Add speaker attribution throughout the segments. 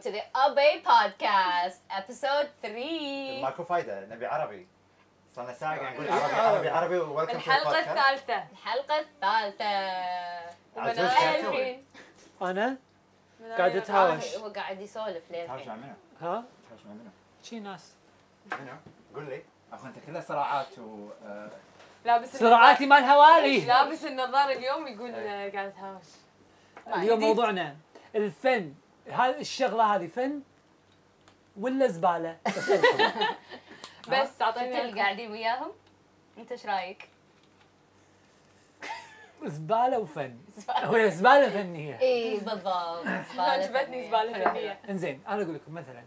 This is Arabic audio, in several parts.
Speaker 1: to the Abay Podcast, episode 3
Speaker 2: ماكو فايده نبي عربي صرنا ساعه قاعد نقول
Speaker 3: إيه،
Speaker 2: عربي عربي
Speaker 3: عربي.
Speaker 2: عربي ويلكم تو
Speaker 4: الحلقة
Speaker 2: البودكاست
Speaker 4: الثالثة
Speaker 1: الحلقة الثالثة
Speaker 2: عزوز
Speaker 4: ومنال
Speaker 2: قاعد
Speaker 4: ألفين.
Speaker 2: تسوي؟
Speaker 3: انا
Speaker 4: منال
Speaker 3: قاعدة
Speaker 4: ألفين.
Speaker 3: تهاوش.
Speaker 1: آه، هو قاعد يسولف
Speaker 2: تهاوش مع
Speaker 1: للحين
Speaker 2: منو؟
Speaker 3: ها
Speaker 2: تهاوش مع منو؟
Speaker 3: شي ناس
Speaker 2: منو؟ قول لي اخو انت كلها صراعات و آه،
Speaker 4: لابس
Speaker 3: صراعاتي مال
Speaker 4: النظار-
Speaker 3: هوالي
Speaker 4: لابس النظار اليوم يقول آه، قاعد تهاوش
Speaker 3: اليوم موضوعنا الفن هذه الشغله هذه فن ولا زباله
Speaker 4: بس
Speaker 1: انت اللي
Speaker 4: اعطيني
Speaker 1: قاعدين وياهم انت ايش رايك؟
Speaker 3: زباله وفن هو زباله فنيه
Speaker 1: اي بالضبط
Speaker 4: عجبتني زبالة فنية
Speaker 3: انزين انا اقول لكم مثلا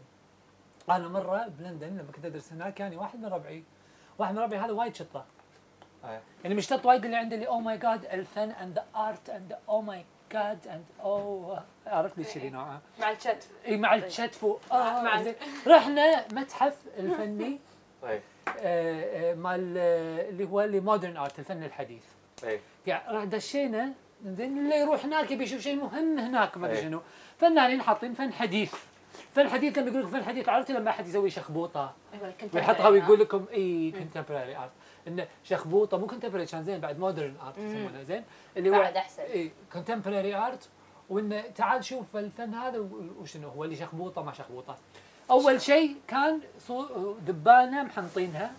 Speaker 3: انا مره بلندن لما كنت ادرس هناك يعني واحد من ربعي واحد من ربعي هذا وايد شطه
Speaker 2: آه.
Speaker 3: يعني مش شط وايد اللي عنده اللي او ماي جاد الفن اند ذا ارت اند او ماي جاد اند او oh، عرفت لي شيء نوعه
Speaker 4: مع الشتف
Speaker 3: اي إيه، مع الكتف و- آه
Speaker 4: مع-
Speaker 3: زين. رحنا متحف الفني
Speaker 2: طيب
Speaker 3: آه، آه، مال آه، اللي هو اللي مودرن ارت الفن الحديث
Speaker 2: طيب
Speaker 3: يعني راح دشينا زين اللي يروح هناك يبي يشوف شيء مهم هناك ما ادري
Speaker 2: إيه.
Speaker 3: شنو فنانين حاطين فن حديث فن حديث لما يقول لك فن حديث عرفت لما احد يسوي شخبوطه ويحطها ويقول لكم اي كونتمبراري ارت انه شخبوطه مو كونتمبراري كان زين بعد مودرن ارت يسمونها زين اللي هو
Speaker 1: بعد أحسن.
Speaker 3: اي كونتمبراري ارت وانه تعال شوف الفن هذا و- وشنو هو اللي شخبوطه ما شخبوطه اول شيء كان صو- دبانه محنطينها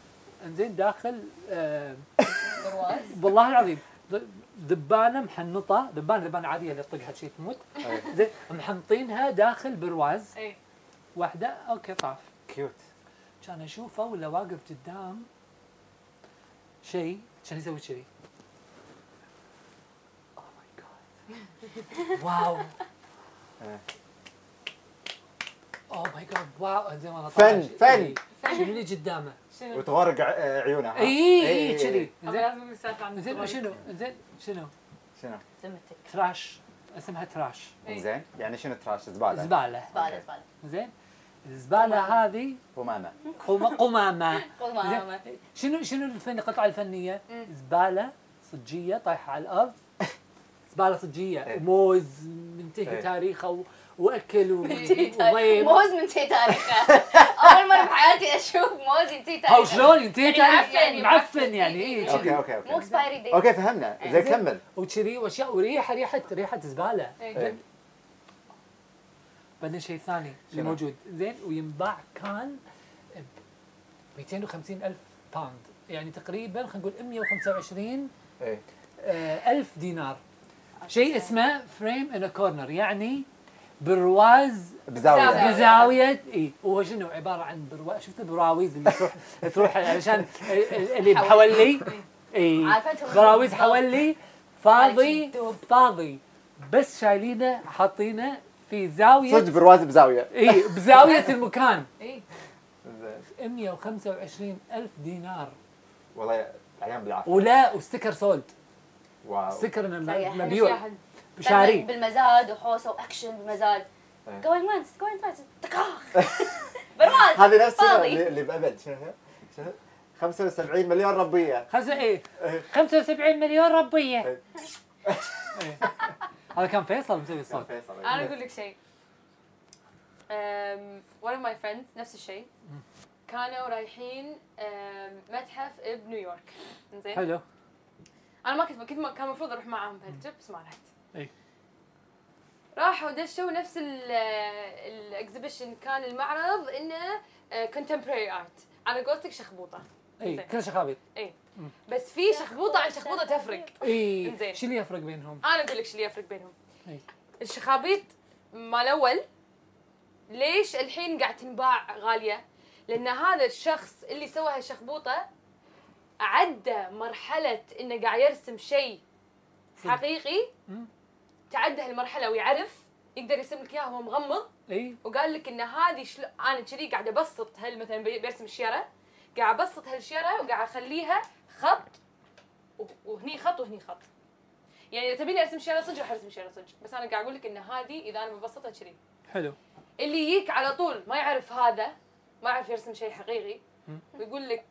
Speaker 3: انزين داخل آه
Speaker 1: برواز
Speaker 3: والله العظيم د- دبانه محنطه دبانه دبانه عاديه اللي تطقها شيء تموت
Speaker 1: أيوة.
Speaker 2: أي.
Speaker 3: زين محنطينها داخل برواز
Speaker 4: اي
Speaker 3: واحده اوكي طاف
Speaker 2: كيوت
Speaker 3: كان اشوفه ولا واقف قدام شيء كان يسوي كذي Oh my God. واو
Speaker 2: إيه.
Speaker 3: اوه ماي جاد Oh واو زين والله
Speaker 2: فن،
Speaker 3: طالع شيء.
Speaker 2: فن.
Speaker 3: إيه. شنو اللي قدامه؟
Speaker 4: شنو؟
Speaker 2: وتوارق ع- آه، إيه، عيونها ها؟
Speaker 3: اي
Speaker 2: إي،
Speaker 3: اي
Speaker 2: إي،
Speaker 3: إيه، كذي
Speaker 4: أبا
Speaker 3: زين
Speaker 4: لازم نسولف عن
Speaker 3: زين
Speaker 4: الزبالة.
Speaker 3: شنو؟ زين شنو؟
Speaker 2: شنو؟
Speaker 1: ذمتك
Speaker 3: تراش اسمها تراش
Speaker 4: إي.
Speaker 2: زين يعني شنو تراش زباله
Speaker 3: زباله
Speaker 1: زبالة زبالة
Speaker 3: زين الزباله هذه
Speaker 2: قمامه
Speaker 3: قم- قمامه
Speaker 1: قمامة
Speaker 3: زين؟ شنو شنو الفن القطعه الفنيه؟
Speaker 4: مم.
Speaker 3: زباله صجيه طايحه على الارض زباله صجيه
Speaker 2: إيه.
Speaker 3: وموز منتهي
Speaker 2: إيه.
Speaker 3: تاريخه و... واكل و-
Speaker 1: منتهي تاريخ-
Speaker 3: وضيم
Speaker 1: موز منتهي تاريخه اول مره بحياتي اشوف موز ينتهي
Speaker 3: او
Speaker 1: تاريخه
Speaker 3: شلون ينتهي
Speaker 1: يعني
Speaker 3: تاريخ
Speaker 1: معفن،
Speaker 3: معفن يعني اي
Speaker 2: اوكي
Speaker 3: شذي.
Speaker 2: اوكي
Speaker 1: مو
Speaker 2: اوكي
Speaker 1: اكسبايري ديت
Speaker 2: اوكي فهمنا زين
Speaker 3: زين.
Speaker 2: كمل
Speaker 3: وكذي واشياء وريحه ريحه ريحه زباله
Speaker 1: إيه.
Speaker 4: إي.
Speaker 2: إي.
Speaker 3: بعدين شيء ثاني اللي
Speaker 2: شنو؟
Speaker 3: موجود زين وينباع كان ب 250 الف باوند يعني تقريبا خلينا نقول 125
Speaker 2: إي.
Speaker 3: آه، ألف دينار شيء اسمه فريم ان كورنر يعني برواز
Speaker 2: بزاويه
Speaker 4: بزاوية.
Speaker 3: بزاوية اي وهو شنو عبارة عن بروا شفت البراويز اللي تروح تروح علشان اللي بحولي اي
Speaker 1: عارفتهم.
Speaker 3: براويز حولي فاضي فاضي بس شايلينه حاطينه في
Speaker 2: صدق
Speaker 3: زاوية
Speaker 2: برواز بزاويه
Speaker 3: اي بزاوية المكان
Speaker 4: اي
Speaker 2: زين.
Speaker 3: 125 ألف دينار
Speaker 2: والله عليهم بالعافيه
Speaker 3: ولا وستيكر سولد
Speaker 2: واو
Speaker 3: ستيكر
Speaker 1: صحيح.
Speaker 3: إنه
Speaker 4: مش
Speaker 3: مبيوع
Speaker 4: واحد.
Speaker 3: شاريه
Speaker 1: بالمزاد وحوسه واكشن بالمزاد
Speaker 2: إيه.
Speaker 1: جوينج وانس جوينج توايس تكاخ برواز
Speaker 2: هذه نفسها
Speaker 1: فاضي.
Speaker 2: اللي اللي بابد شنو هي؟ شنو 75 مليون ربيه
Speaker 3: خمسة ايه
Speaker 2: إيه.
Speaker 3: 75 مليون
Speaker 2: إيه.
Speaker 3: ربية إيه. هذا كان فيصل مسوي الصوت
Speaker 2: فيصل.
Speaker 4: انا اقول لك شيء أم، one of my friends نفس الشيء كانوا رايحين أم، متحف بنيويورك زين
Speaker 3: حلو
Speaker 4: انا ما كنت كنت كان المفروض اروح معاهم بهالترip بس ما رحت
Speaker 3: إي.
Speaker 4: راحوا دشوا نفس الاكزبيشن كان المعرض انه كونتمبراري ارت على قولتك شخبوطه
Speaker 3: اي
Speaker 4: زين.
Speaker 3: كل شخابيط
Speaker 4: بس في شخبوطه عن شخبوطه تفرق
Speaker 3: اي
Speaker 4: إنزين.
Speaker 3: شو اللي إيه. يفرق بينهم؟
Speaker 4: انا اقول لك شو اللي يفرق بينهم
Speaker 3: إي.
Speaker 4: الشخابيط مال الاول ليش الحين قاعد تنباع غاليه؟ لان هذا الشخص اللي سوى هالشخبوطه عدى مرحله انه قاعد يرسم شيء حقيقي
Speaker 3: مم.
Speaker 4: تعدى هالمرحله ويعرف يقدر يرسم لك اياه وهو مغمض
Speaker 3: اي
Speaker 4: وقال لك ان هذه شل... انا كذي قاعده ابسط هل مثلا بي- برسم الشيره قاعد ابسط هالشيره وقاعد اخليها خط و... وهني خط وهني خط يعني اذا تبيني ارسم شيره صج راح ارسم شيره صج بس انا قاعد اقول لك ان هذه اذا انا ببسطها كذي
Speaker 3: حلو
Speaker 4: اللي يجيك على طول ما يعرف هذا ما يعرف يرسم شيء حقيقي ويقول لك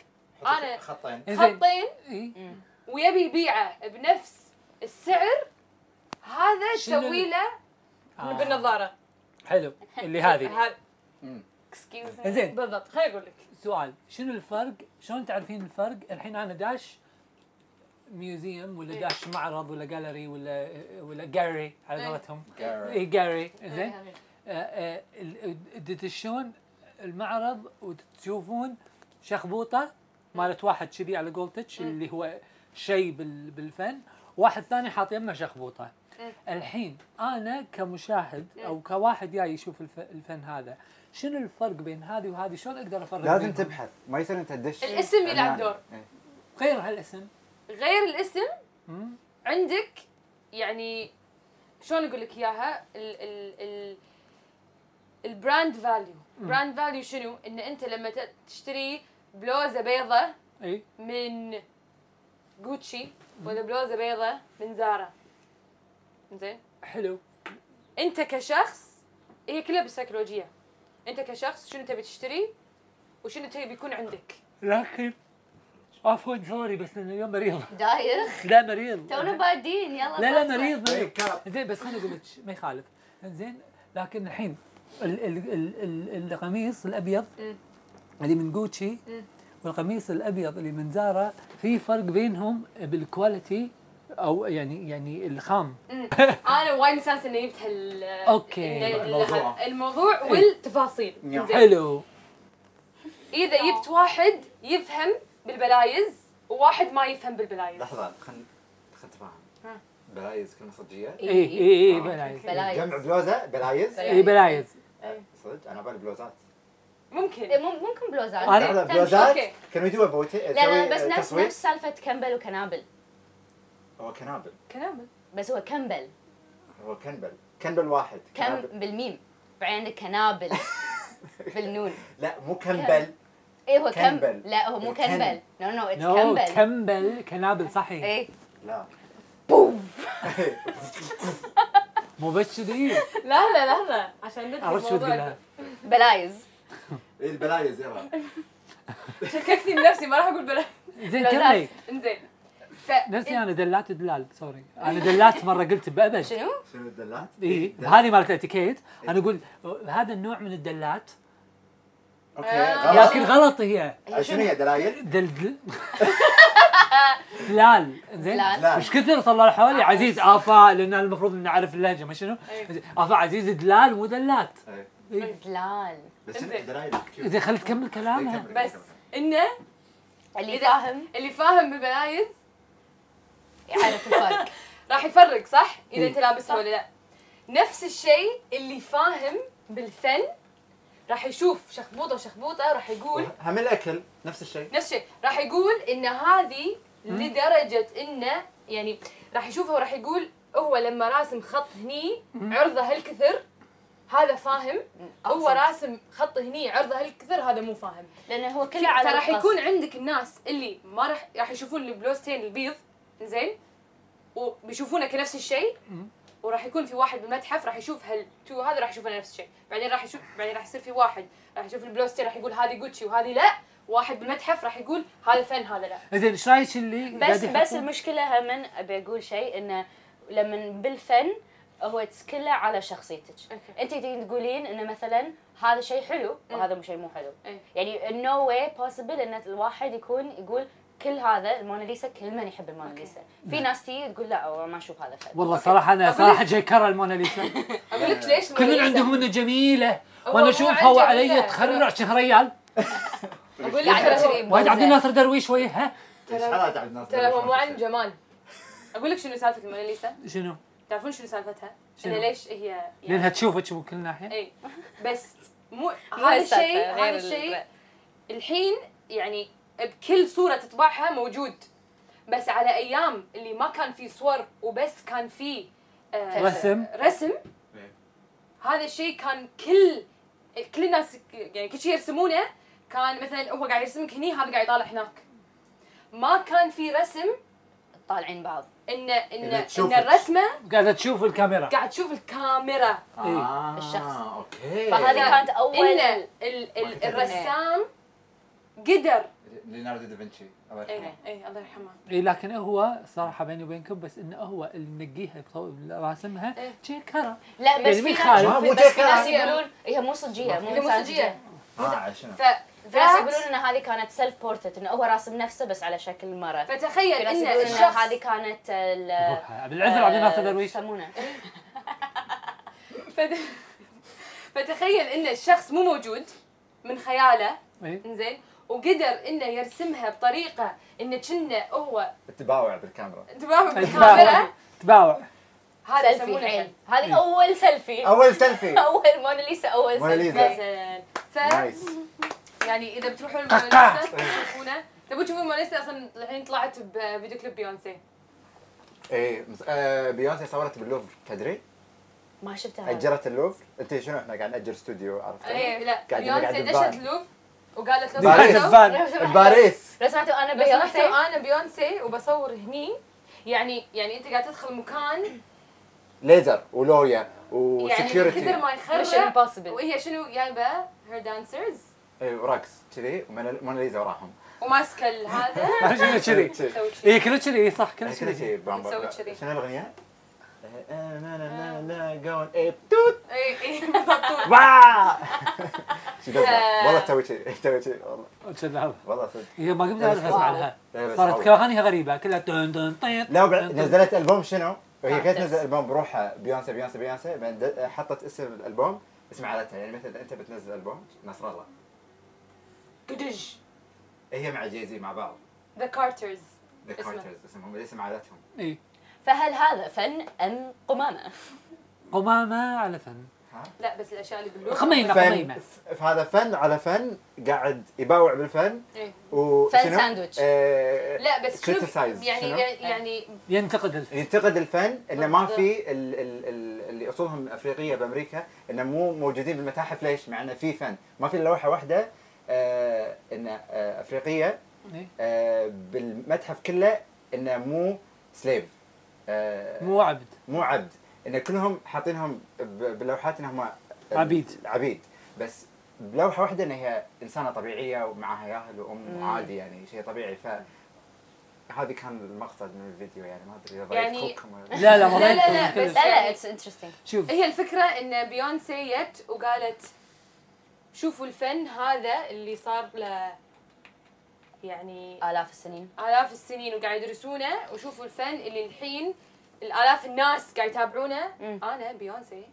Speaker 4: أنا-
Speaker 2: خطين
Speaker 3: إنزين.
Speaker 4: خطين
Speaker 3: اي
Speaker 4: ويبي يبيعه بنفس السعر هذا
Speaker 3: شنو
Speaker 4: تسوي له
Speaker 3: آه.
Speaker 4: بالنظاره
Speaker 3: حلو اللي هذه
Speaker 4: هذا
Speaker 2: مم.
Speaker 4: اكسكيوز
Speaker 3: زين.
Speaker 4: بالضبط خليني اقول لك
Speaker 3: سؤال شنو الفرق شلون تعرفين الفرق الحين انا داش ميوزيوم ولا
Speaker 4: إيه.
Speaker 3: داش معرض ولا جاليري ولا ولا جاري على
Speaker 4: إيه.
Speaker 3: قولتهم
Speaker 2: Garrett.
Speaker 3: اي جاري زين آه، آه، ال- تدشون المعرض وتشوفون شخبوطه مالت واحد كذي على قولتك اللي هو شيء بال- بالفن واحد ثاني حاط يمه شخبوطه الحين انا كمشاهد او كواحد جاي يشوف الف- الفن هذا شنو الفرق بين هذه وهذه شلون اقدر افرق
Speaker 2: لازم
Speaker 3: بينهم؟
Speaker 2: تبحث ما يصير انت تدش
Speaker 4: الاسم يلعب دور.
Speaker 2: إيه.
Speaker 3: غير هالاسم
Speaker 4: غير الاسم
Speaker 3: مم.
Speaker 4: عندك يعني شلون اقول لك اياها ال ال ال البراند فاليو براند فاليو شنو ان انت لما ت- تشتري بلوزه بيضة
Speaker 3: اي
Speaker 4: من جوتشي ولا بلوزه بيضة من زارا زين
Speaker 3: حلو
Speaker 4: انت كشخص هي كلها بالسيكولوجيه انت كشخص شنو تبي تشتري وشنو تبي يكون عندك
Speaker 3: لكن عفوا سوري بس انا اليوم مريض
Speaker 1: دايخ
Speaker 3: لا مريض
Speaker 1: تونا بادين يلا
Speaker 3: لا لا
Speaker 1: خلصة.
Speaker 3: مريض مريض
Speaker 2: Wake up.
Speaker 3: زين بس خليني اقول لك ما يخالف زين لكن الحين ال ال ال ال القميص الابيض
Speaker 4: مم.
Speaker 3: اللي من جوتشي والقميص الابيض اللي من زارا في فرق بينهم بالكواليتي او يعني يعني الخام
Speaker 4: انا وايد مستانسه اني جبت هال
Speaker 3: أوكي.
Speaker 4: ال- ال-
Speaker 2: الموضوع.
Speaker 4: الموضوع والتفاصيل
Speaker 2: نعم.
Speaker 4: زين.
Speaker 3: حلو
Speaker 4: اذا جبت واحد يفهم بالبلايز وواحد ما يفهم بالبلايز
Speaker 2: لحظه خلنا خلنا نتفاهم
Speaker 4: ها.
Speaker 2: بلايز كلمه صجيه
Speaker 4: إيه،
Speaker 3: اي اي اي إيه، بلايز
Speaker 1: إيه، بلايز. إيه.
Speaker 2: جمع بلوزه بلايز
Speaker 1: بلايز.
Speaker 3: اي بلايز
Speaker 2: صدق انا بالي بلوزات
Speaker 1: إيه،
Speaker 4: ممكن
Speaker 1: مم- ممكن بلوزات
Speaker 3: أنا-
Speaker 2: لحظه
Speaker 1: تمشي.
Speaker 2: بلوزات
Speaker 4: أوكي.
Speaker 2: كانوا يدوا بوتي
Speaker 1: لا لا بس
Speaker 2: uh,
Speaker 1: نفس نفس سالفه كمبل وكنابل
Speaker 2: هو كنابل
Speaker 4: كنابل
Speaker 1: بس هو كمبل
Speaker 2: هو كنبل كنبل واحد
Speaker 1: كم
Speaker 2: كنابل.
Speaker 1: بالميم بعدين عندك كنابل بالنون
Speaker 2: لا مو كنبل
Speaker 1: ايه هو كم
Speaker 2: كمبل.
Speaker 1: لا هو مو
Speaker 2: كم.
Speaker 1: كمبل نو نو اتس
Speaker 3: نو
Speaker 1: كمبل
Speaker 3: كمبل كنابل
Speaker 4: إيه.
Speaker 3: صحيح
Speaker 1: ايه
Speaker 2: لا
Speaker 3: مو بس كذي
Speaker 4: لا لا لا لا عشان ندري
Speaker 3: عرفت شو تقولها
Speaker 1: بلايز
Speaker 2: إيه البلايز يلا
Speaker 4: شككتني بنفسي ما راح اقول بلايز
Speaker 3: زين
Speaker 1: بلوزات.
Speaker 3: كملي
Speaker 4: انزين ف
Speaker 3: نفسي انا دلات دلال سوري انا دلات مره قلت بابد
Speaker 1: شنو؟
Speaker 2: شنو الدلات؟
Speaker 4: إيه.
Speaker 2: إيه،
Speaker 3: اي
Speaker 2: دل-
Speaker 3: إيه، هذه مالت الاتيكيت
Speaker 2: إيه.
Speaker 3: انا اقول هذا النوع من الدلات
Speaker 4: آه،
Speaker 2: اوكي غلط
Speaker 3: لكن غلط هي
Speaker 2: شنو هي دلايل؟
Speaker 3: دل دل دلال زين
Speaker 1: دلال.
Speaker 2: دلال.
Speaker 3: مش كثر صار الله
Speaker 4: آه.
Speaker 3: حوالي عزيز افا لان المفروض ان نعرف اللهجه ما شنو
Speaker 4: أيوة.
Speaker 3: افا عزيز دلال مو دلات
Speaker 2: إيه.
Speaker 3: إي.
Speaker 1: دلال
Speaker 2: بس شنو
Speaker 4: إنزين.
Speaker 2: دلايل كيوت.
Speaker 3: زين خلي تكمل
Speaker 2: إيه،
Speaker 3: كلامها
Speaker 2: كمل،
Speaker 4: بس
Speaker 2: كمل.
Speaker 4: انه
Speaker 1: اللي
Speaker 4: إذا-
Speaker 1: فاهم
Speaker 4: اللي فاهم بالبلايز
Speaker 1: يعرف الفرق
Speaker 4: راح يفرق صح؟ اذا
Speaker 3: إيه.
Speaker 4: انت لابسها ولا لا. نفس الشيء اللي فاهم بالفن راح يشوف شخبوطه وشخبوطه راح يقول
Speaker 2: هم الاكل نفس الشيء
Speaker 4: نفس الشيء راح يقول ان هذه لدرجه انه يعني راح يشوفها وراح يقول هو لما راسم خط هني عرضه هالكثر هذا فاهم هو
Speaker 1: أقصد.
Speaker 4: راسم خط هني عرضه هالكثر هذا مو فاهم
Speaker 1: لانه هو كله على
Speaker 4: فراح
Speaker 1: القصد.
Speaker 4: يكون عندك الناس اللي ما راح راح يشوفون البلوزتين البيض زين وبيشوفونه كنفس الشيء
Speaker 3: مم.
Speaker 4: وراح يكون في واحد بالمتحف راح يشوف هالتو هذا راح يشوفونه نفس الشيء بعدين راح يشوف بعدين راح يصير في واحد راح يشوف البلوزتين راح يقول هذه جوتشي وهذه لا واحد بالمتحف راح يقول هذا فن هذا لا
Speaker 3: زين ايش رايك اللي
Speaker 1: بس
Speaker 3: قاعد
Speaker 1: بس
Speaker 3: يحطون؟
Speaker 1: المشكله هم ابي اقول شيء انه لما بالفن هو it's كله على شخصيتك
Speaker 4: أوكي.
Speaker 1: انت تقدرين تقولين انه مثلا هذا شيء حلو وهذا مو شيء مو حلو
Speaker 4: إيه.
Speaker 1: يعني نو واي possible ان الواحد يكون يقول كل هذا الموناليزا كل من يحب الموناليزا في ناس تيجي تقول لا أو ما اشوف هذا فن
Speaker 3: والله صراحه انا
Speaker 4: أقول-
Speaker 3: صراحه جيكره الموناليزا
Speaker 4: اقول لك ليش
Speaker 3: كل من
Speaker 4: الموناليزا؟
Speaker 3: عندهم انه جميله
Speaker 4: هو
Speaker 3: وانا
Speaker 4: مو
Speaker 3: اشوفها وعلي
Speaker 4: عجبية.
Speaker 3: تخرع شهر ريال
Speaker 4: اقول لك ترى هو-
Speaker 3: وايد عبد الناصر درويش ويه ها
Speaker 2: ايش حالات عبد الناصر
Speaker 4: ترى هو مو عن جمال اقول لك شنو سالفه الموناليزا
Speaker 3: شنو؟
Speaker 4: تعرفون شنو سالفتها؟
Speaker 3: شنو؟
Speaker 4: انه ليش هي يعني-
Speaker 3: لانها تشوفك من كل
Speaker 4: اي
Speaker 3: ناحيه
Speaker 4: إيه. بس مو هذا الشيء
Speaker 1: السالفة، غير
Speaker 4: هذا الشيء الحين يعني بكل صوره تطبعها موجود بس على ايام اللي ما كان في صور وبس كان في آه،
Speaker 3: رسم.
Speaker 4: رسم
Speaker 2: إيه.
Speaker 4: هذا الشيء كان كل كل الناس يعني كل شيء يرسمونه كان مثلا هو قاعد يرسمك هني هذا قاعد يطالع هناك ما كان في رسم
Speaker 1: طالعين بعض
Speaker 4: ان ان
Speaker 2: إنه
Speaker 4: ان
Speaker 2: تشوفك.
Speaker 4: الرسمه
Speaker 3: قاعده تشوف الكاميرا
Speaker 4: قاعد تشوف الكاميرا
Speaker 2: آه،
Speaker 1: الشخص.
Speaker 2: اوكي
Speaker 1: فهذه
Speaker 4: إيه.
Speaker 1: كانت اول
Speaker 4: ان ال- ال-
Speaker 2: ما كنت أدري.
Speaker 4: الرسام قدر
Speaker 2: ليوناردو دافنشي الله
Speaker 4: اي
Speaker 1: إيه.
Speaker 2: يرحمه
Speaker 4: اي الله يرحمه
Speaker 3: إيه لكن هو صراحه بيني وبينكم بس انه هو اللي منقيها بطو- براسمها
Speaker 4: إيه.
Speaker 3: شيكره
Speaker 1: لا بس
Speaker 3: يعني
Speaker 1: في
Speaker 3: مين
Speaker 1: ناس
Speaker 3: خالف؟
Speaker 2: ما مو
Speaker 1: بس في
Speaker 2: جاكا.
Speaker 1: ناس يقولون هي مو صجيه مو
Speaker 4: هي مو
Speaker 1: إنسان
Speaker 4: صجية.
Speaker 2: اه شنو
Speaker 4: ف
Speaker 1: في ناس
Speaker 4: that-
Speaker 1: يقولون ان هذه كانت سيلف بورتريت انه هو راسم نفسه بس على شكل مرة في
Speaker 4: فتخيل
Speaker 1: ناس
Speaker 4: ان
Speaker 1: يقولون ان
Speaker 4: الشخص
Speaker 1: هذه كانت ال
Speaker 4: آه،
Speaker 3: روحها. بالعذر عبد الناصر
Speaker 1: آه،
Speaker 3: درويش
Speaker 1: يسمونه
Speaker 4: فت- فتخيل ان الشخص مو موجود من خياله
Speaker 3: إيه؟
Speaker 4: زين وقدر انه يرسمها بطريقه انه كنا هو
Speaker 2: التباوع بالكاميرا
Speaker 4: انتباه بالكاميرا
Speaker 3: تباوع تباوع
Speaker 4: هذا
Speaker 1: سيلفي
Speaker 4: يسمونه
Speaker 1: عيل هذه اول
Speaker 4: إيه.
Speaker 1: سيلفي
Speaker 2: اول سيلفي
Speaker 1: اول موناليسا اول
Speaker 2: موناليزا.
Speaker 1: سيلفي
Speaker 4: مثلا ف
Speaker 2: نايس
Speaker 4: يعني اذا بتروحون الموناليزا تشوفونه تبون تشوفون الموناليزا اصلا الحين طلعت بفيديو كليب بيونسي
Speaker 2: اي مس- آه، بيونسي صورت باللوفر تدري؟
Speaker 1: ما
Speaker 4: آه.
Speaker 1: شفتها هذه.
Speaker 2: اجرت اللوفر انت شنو احنا قاعد ناجر استوديو عرفت؟
Speaker 1: إيه.
Speaker 4: اي إيه، لا
Speaker 2: قاعد- قاعد
Speaker 4: بيونسي
Speaker 2: ببان.
Speaker 4: دشت لوف وقالت له
Speaker 2: باريس.
Speaker 4: صورتوا-
Speaker 3: الفان
Speaker 2: بباريس
Speaker 1: لو سمعتوا انا
Speaker 4: لو سمحتوا
Speaker 1: بيونسي
Speaker 4: انا بيونسي وبصور هني يعني يعني انت قاعد تدخل مكان
Speaker 2: ليزر ولويا
Speaker 4: يعني من كثر
Speaker 2: وسكيورتي
Speaker 4: ما
Speaker 1: مش
Speaker 4: يخرب
Speaker 1: امبوسيبل
Speaker 4: وهي شنو جايبه هير دانسرز
Speaker 2: اي ورقص إيه، كذي وموناليزا وراهم
Speaker 4: وماسكه ال- هذا
Speaker 3: شنو كذي
Speaker 2: كذي.
Speaker 4: تسوي كذي
Speaker 3: اي كله كذي إيه صح كله
Speaker 2: كذا
Speaker 3: كذي
Speaker 2: شيء بامبر.
Speaker 4: تسوي كذي.
Speaker 2: شنو الاغنيه؟ آه، نا نا نا نا جون ايب توت
Speaker 4: اي اي بالضبط.
Speaker 2: با شو قصدك؟
Speaker 4: ف-
Speaker 2: والله تسوي كذي تسوي كذي والله
Speaker 3: كذا.
Speaker 2: والله صدق
Speaker 3: هي إيه، ما قمت اعرف اسمع عنها
Speaker 2: لا، إيه، بس
Speaker 3: صارت
Speaker 2: والله.
Speaker 3: كلهانيها غريبه كلها تن تن طيط
Speaker 2: لا وبع-
Speaker 3: تن تن.
Speaker 2: نزلت البوم شنو؟
Speaker 1: آه،
Speaker 2: وهي كانت
Speaker 1: نفس.
Speaker 2: تنزل البوم بروحها بيونسي بيونسي بيونسي بعدين د- حطت اسم الالبوم اسم عائلتها يعني مثلا انت بتنزل البوم نصر الله
Speaker 4: قدج
Speaker 2: هي مع جيزي مع بعض
Speaker 4: ذا كارترز
Speaker 2: ذا
Speaker 4: اسمه.
Speaker 2: كارترز اسمهم اسم عائلتهم
Speaker 3: إيه.
Speaker 1: فهل هذا فن ام قمامه؟
Speaker 3: قمامه على فن
Speaker 4: لا بس الاشياء اللي باللون
Speaker 3: قميمه
Speaker 2: فن
Speaker 3: قميمه
Speaker 2: ف- فهذا فن على فن قاعد يباوع بالفن
Speaker 4: إيه.
Speaker 2: وشنو؟
Speaker 1: فن ساندويتش.
Speaker 2: آه،
Speaker 4: لا بس شنو
Speaker 2: criticize.
Speaker 4: يعني
Speaker 2: شنو؟
Speaker 4: يعني
Speaker 3: ينتقد الفن
Speaker 2: ينتقد الفن انه ما
Speaker 4: بالضبط.
Speaker 2: في ال ال ال اللي اصولهم افريقيه بامريكا انه مو موجودين بالمتاحف ليش؟ مع انه في فن، ما في الا لوحه واحده آه انه آه افريقيه
Speaker 3: إيه.
Speaker 2: آه بالمتحف كله انه مو سليف آه
Speaker 3: مو عبد
Speaker 2: مو عبد انه كلهم حاطينهم ب- بلوحات انهم
Speaker 3: عبيد.
Speaker 2: عبيد بس بلوحه واحده انها هي انسانه طبيعيه ومعاها ياهل وام وعادي يعني شيء طبيعي ف هذا كان المقصد من الفيديو يعني ما ادري اذا
Speaker 4: يعني-
Speaker 2: ضايقكم ولا
Speaker 3: لا لا ما
Speaker 4: لا، لا،
Speaker 3: ضايقكم
Speaker 4: لا،
Speaker 3: كله.
Speaker 1: لا لا اتس انترستنج
Speaker 3: شوف
Speaker 4: هي الفكره ان بيونسي جت وقالت شوفوا الفن هذا اللي صار له يعني
Speaker 1: الاف السنين
Speaker 4: آلاف السنين وقاعد يدرسونه وشوفوا الفن اللي الحين الآلاف الناس قاعد يتابعونه
Speaker 1: مم.
Speaker 4: أنا بيونسي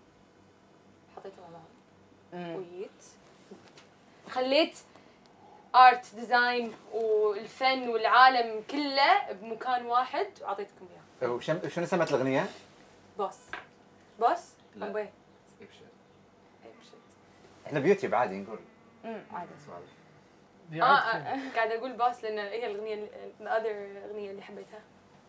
Speaker 4: حطيته مع بعض وجيت خليت ارت ديزاين والفن والعالم كله بمكان واحد وأعطيتكم إياه
Speaker 2: وشم- شنو سمت الاغنيه؟
Speaker 4: بوس بوس إيه،
Speaker 2: لا.
Speaker 4: أمبي.
Speaker 2: احنا بيوتيوب عادي نقول
Speaker 1: امم عادي
Speaker 2: سوالف.
Speaker 4: اه آه، قاعد اقول باس لان هي الاغنيه الاذر اغنيه اللي حبيتها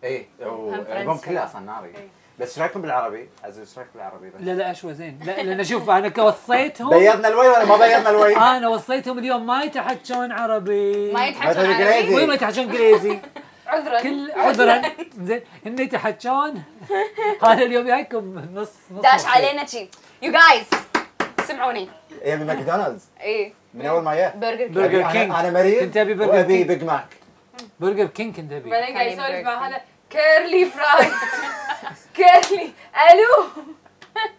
Speaker 2: ايه
Speaker 1: فرنسي.
Speaker 2: والالبوم كله اصلا
Speaker 4: إيه.
Speaker 2: ناري بس ايش رايكم بالعربي؟ عزيز ايش رايك بالعربي؟ بس؟
Speaker 3: لا لا اشوى زين لا لان شوف انا وصيتهم
Speaker 2: بيضنا الوي ولا ما بيضنا الوي؟
Speaker 3: انا وصيتهم اليوم ما يتحجون عربي
Speaker 1: ما يتحجون
Speaker 2: عربي.
Speaker 1: عربي
Speaker 3: وين ما يتحجون انجليزي
Speaker 4: عذرا
Speaker 3: كل عذرا زين ان يتحجون هذا اليوم جايكم نص نص
Speaker 1: داش علينا شي يو جايز سمعوني
Speaker 2: ايه من ماكدونالدز
Speaker 1: ايه
Speaker 2: من اول ما جاء
Speaker 1: برجر كينج
Speaker 3: برجر
Speaker 2: أنا-
Speaker 3: كينج.
Speaker 2: انا مريض
Speaker 3: كنت أبي برجر
Speaker 2: وأبي
Speaker 3: كينج.
Speaker 2: بيج ماك
Speaker 3: برجر كينج كنت ابي
Speaker 4: بعدين قاعد يسولف مع
Speaker 1: كان
Speaker 4: هذا كيرلي فرايد كيرلي الو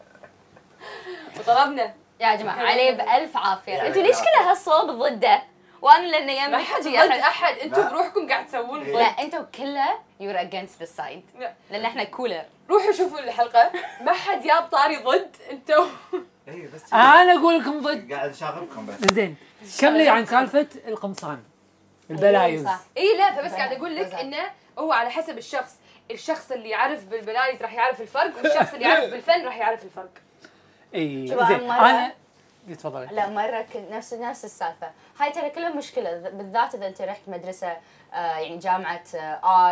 Speaker 4: وطلبنا
Speaker 1: يا جماعه عليه بالف عافيه
Speaker 2: يعني
Speaker 1: انتوا ليش كل هالصوب ضده وانا لان
Speaker 4: ما
Speaker 1: يمي
Speaker 4: حد
Speaker 1: حجي
Speaker 4: ضد
Speaker 1: أحس-
Speaker 4: احد انتم
Speaker 2: لا.
Speaker 4: بروحكم قاعد تسوون
Speaker 1: لا
Speaker 4: ضد
Speaker 1: انتوا كله يور اجينست ذا سايد لان احنا كولر
Speaker 4: روحوا شوفوا الحلقه ما حد جاب طاري ضد انتم
Speaker 2: اي إيه، بس
Speaker 3: انا اقول لكم ضد
Speaker 2: قاعد اشاغبكم بس
Speaker 3: زين كملي عن سالفه القمصان البلايز
Speaker 1: صح.
Speaker 4: اي إيه، لا فبس قاعد اقول لك انه هو على حسب الشخص الشخص اللي يعرف بالبلايز راح يعرف الفرق والشخص اللي يعرف بالفن راح يعرف الفرق
Speaker 3: اي
Speaker 1: شوف، أنا
Speaker 3: زين
Speaker 1: مرة-
Speaker 3: انا تفضلي
Speaker 1: لا مره كنت نفس نفس السالفه هاي ترى كلها مشكله ذ- بالذات اذا انت رحت مدرسه آه، يعني جامعه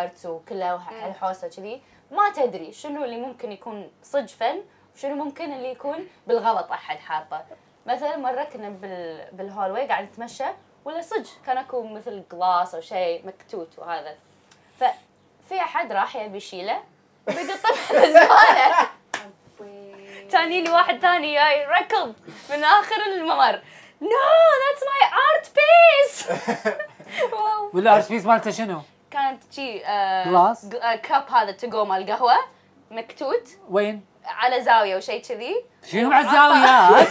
Speaker 1: ارت وكلها وح- هالحوسه كذي ما تدري شنو اللي ممكن يكون صج فن وشنو ممكن اللي يكون بالغلط احد حاطه مثلا مره كنا بال بالهولوي قاعد نتمشى ولا صج كان اكو مثل جلاس او شيء مكتوت وهذا ففي احد راح يبي يشيله بيقطه بالزباله كان يلي واحد ثاني جاي ركض من اخر الممر نو ذاتس ماي ارت بيس واو
Speaker 3: والارت بيس مالته شنو؟
Speaker 1: كانت شي
Speaker 3: Glass؟
Speaker 1: كاب هذا تو مال القهوه مكتوت
Speaker 3: وين؟
Speaker 1: على زاويه وشيء كذي
Speaker 3: شنو مع الزاويات؟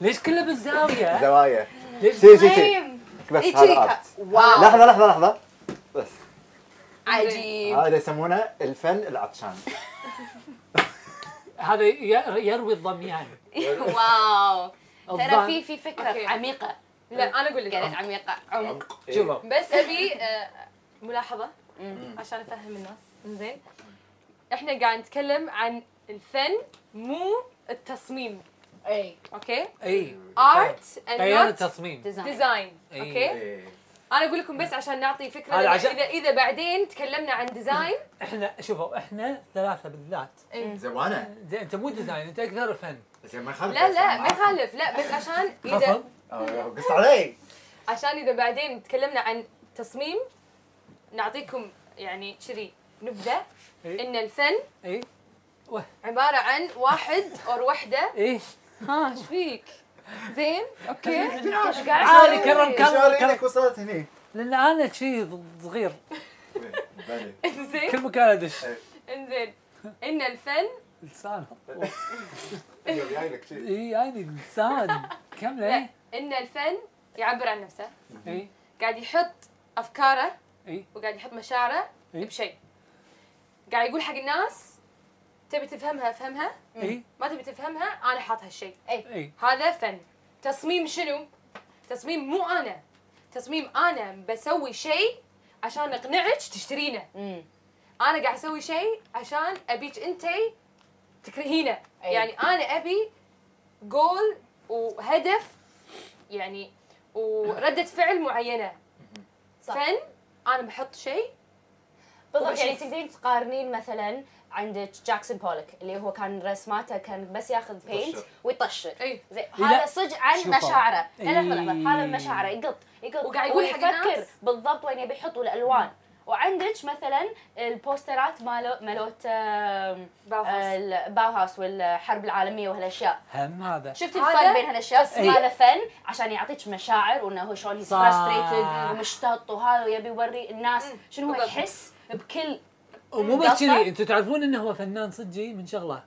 Speaker 3: ليش كله بالزاويه؟
Speaker 2: زوايا
Speaker 3: ليش؟
Speaker 2: شي شي شي بس
Speaker 1: إيه،
Speaker 2: هذا
Speaker 1: شي-
Speaker 2: ارت
Speaker 1: واو
Speaker 2: لحظه لحظه لحظه بس
Speaker 1: عجيب
Speaker 2: هذا يسمونه الفن العطشان
Speaker 3: هذا ي- يروي الظميان
Speaker 1: واو ترى
Speaker 3: الظاهر-
Speaker 1: في في فكره
Speaker 4: أوكي.
Speaker 1: عميقه
Speaker 4: لا انا اقول لك
Speaker 1: قالت عميقه عمق
Speaker 2: إيه.
Speaker 3: شوفوا
Speaker 4: بس ابي آه، ملاحظه عشان افهم الناس زين احنا قاعد نتكلم عن الفن مو التصميم
Speaker 1: اي
Speaker 4: اوكي
Speaker 2: إيه.
Speaker 3: اي
Speaker 4: ارت
Speaker 3: غير
Speaker 4: اند نوت
Speaker 3: إيه. التصميم
Speaker 1: ديزاين
Speaker 4: ديزاين
Speaker 3: إي.
Speaker 4: اوكي
Speaker 2: إيه.
Speaker 4: انا اقول لكم بس عشان نعطي فكره
Speaker 3: هذا
Speaker 4: لأن
Speaker 3: عشان-
Speaker 4: اذا اذا بعدين تكلمنا عن ديزاين
Speaker 3: احنا شوفوا احنا ثلاثه بالذات
Speaker 2: زين وانا
Speaker 3: زين انت مو ديزاين انت اكثر فن
Speaker 2: زين ما يخالف
Speaker 4: لا
Speaker 2: بس
Speaker 4: لا
Speaker 2: أنا
Speaker 4: ما
Speaker 2: معاكم.
Speaker 4: يخالف لا بس عشان اذا
Speaker 3: خفض
Speaker 2: أوه، قص علي
Speaker 4: عشان اذا بعدين تكلمنا عن تصميم نعطيكم يعني شري نبدا
Speaker 3: إي.
Speaker 4: ان الفن
Speaker 3: اي
Speaker 4: عباره عن واحد او وحده
Speaker 3: ايه
Speaker 4: ها ايش فيك زين اوكي
Speaker 1: ايش
Speaker 3: عالي
Speaker 1: قاعد
Speaker 3: كرم
Speaker 2: شو
Speaker 3: كرم كرم
Speaker 2: ايدك وصلت هني
Speaker 3: لان انا شيء صغير
Speaker 2: بلي.
Speaker 4: زين
Speaker 3: كل مكان ادش
Speaker 4: انزين ان الفن
Speaker 3: لسان
Speaker 2: يلا، جايلك شي.
Speaker 3: اي يعني لسان
Speaker 4: لا
Speaker 3: كمله
Speaker 4: ان الفن يعبر عن نفسه
Speaker 3: اي
Speaker 4: قاعد يحط افكاره
Speaker 3: اي
Speaker 4: وقاعد يحط مشاعره
Speaker 3: إي.
Speaker 4: بشيء قاعد يقول حق الناس تبي تفهمها افهمها
Speaker 3: اي
Speaker 4: ما تبي تفهمها انا حاط هالشيء
Speaker 3: اي
Speaker 4: هذا فن تصميم شنو تصميم مو انا تصميم انا بسوي شيء عشان اقنعك تشترينه
Speaker 1: مم.
Speaker 4: انا قاعد اسوي شيء عشان ابيك انتي تكرهينه
Speaker 1: أي.
Speaker 4: يعني انا ابي جول وهدف يعني ورده فعل معينه
Speaker 1: صح.
Speaker 4: فن انا بحط شيء
Speaker 1: بالضبط
Speaker 4: وبشوف.
Speaker 1: يعني تقدرين تقارنين مثلا عندك جاكسون بولك اللي هو كان رسماته كان بس ياخذ بينت
Speaker 2: يطشر.
Speaker 1: ويطشر
Speaker 4: اي
Speaker 1: زين
Speaker 3: لا.
Speaker 1: هذا صج عن
Speaker 3: شوفوا.
Speaker 1: مشاعره لا لا لحظه
Speaker 3: إي.
Speaker 1: لحظه هذا مشاعره يقط يقط
Speaker 4: وقاعد يقول حق
Speaker 1: ويفكر
Speaker 4: الناس.
Speaker 1: بالضبط وين يبي يحط والالوان وعندك مثلا البوسترات مالو مالوت آم، آه،
Speaker 4: باوهاوس.
Speaker 1: الباوهاس والحرب العالميه وهالاشياء
Speaker 3: هم هذا
Speaker 1: شفت
Speaker 4: هذا
Speaker 1: الفرق بين هالاشياء
Speaker 3: إي.
Speaker 1: هذا فن عشان يعطيك مشاعر وانه هو شلون
Speaker 3: صح.
Speaker 1: فرستريتد ومشتط وهذا ويبي يوري الناس
Speaker 4: مم.
Speaker 1: شنو هو
Speaker 4: بالضبط.
Speaker 1: يحس بكل
Speaker 3: ومو
Speaker 1: قطع.
Speaker 3: بس كذي انتم تعرفون انه هو فنان صجي من شغله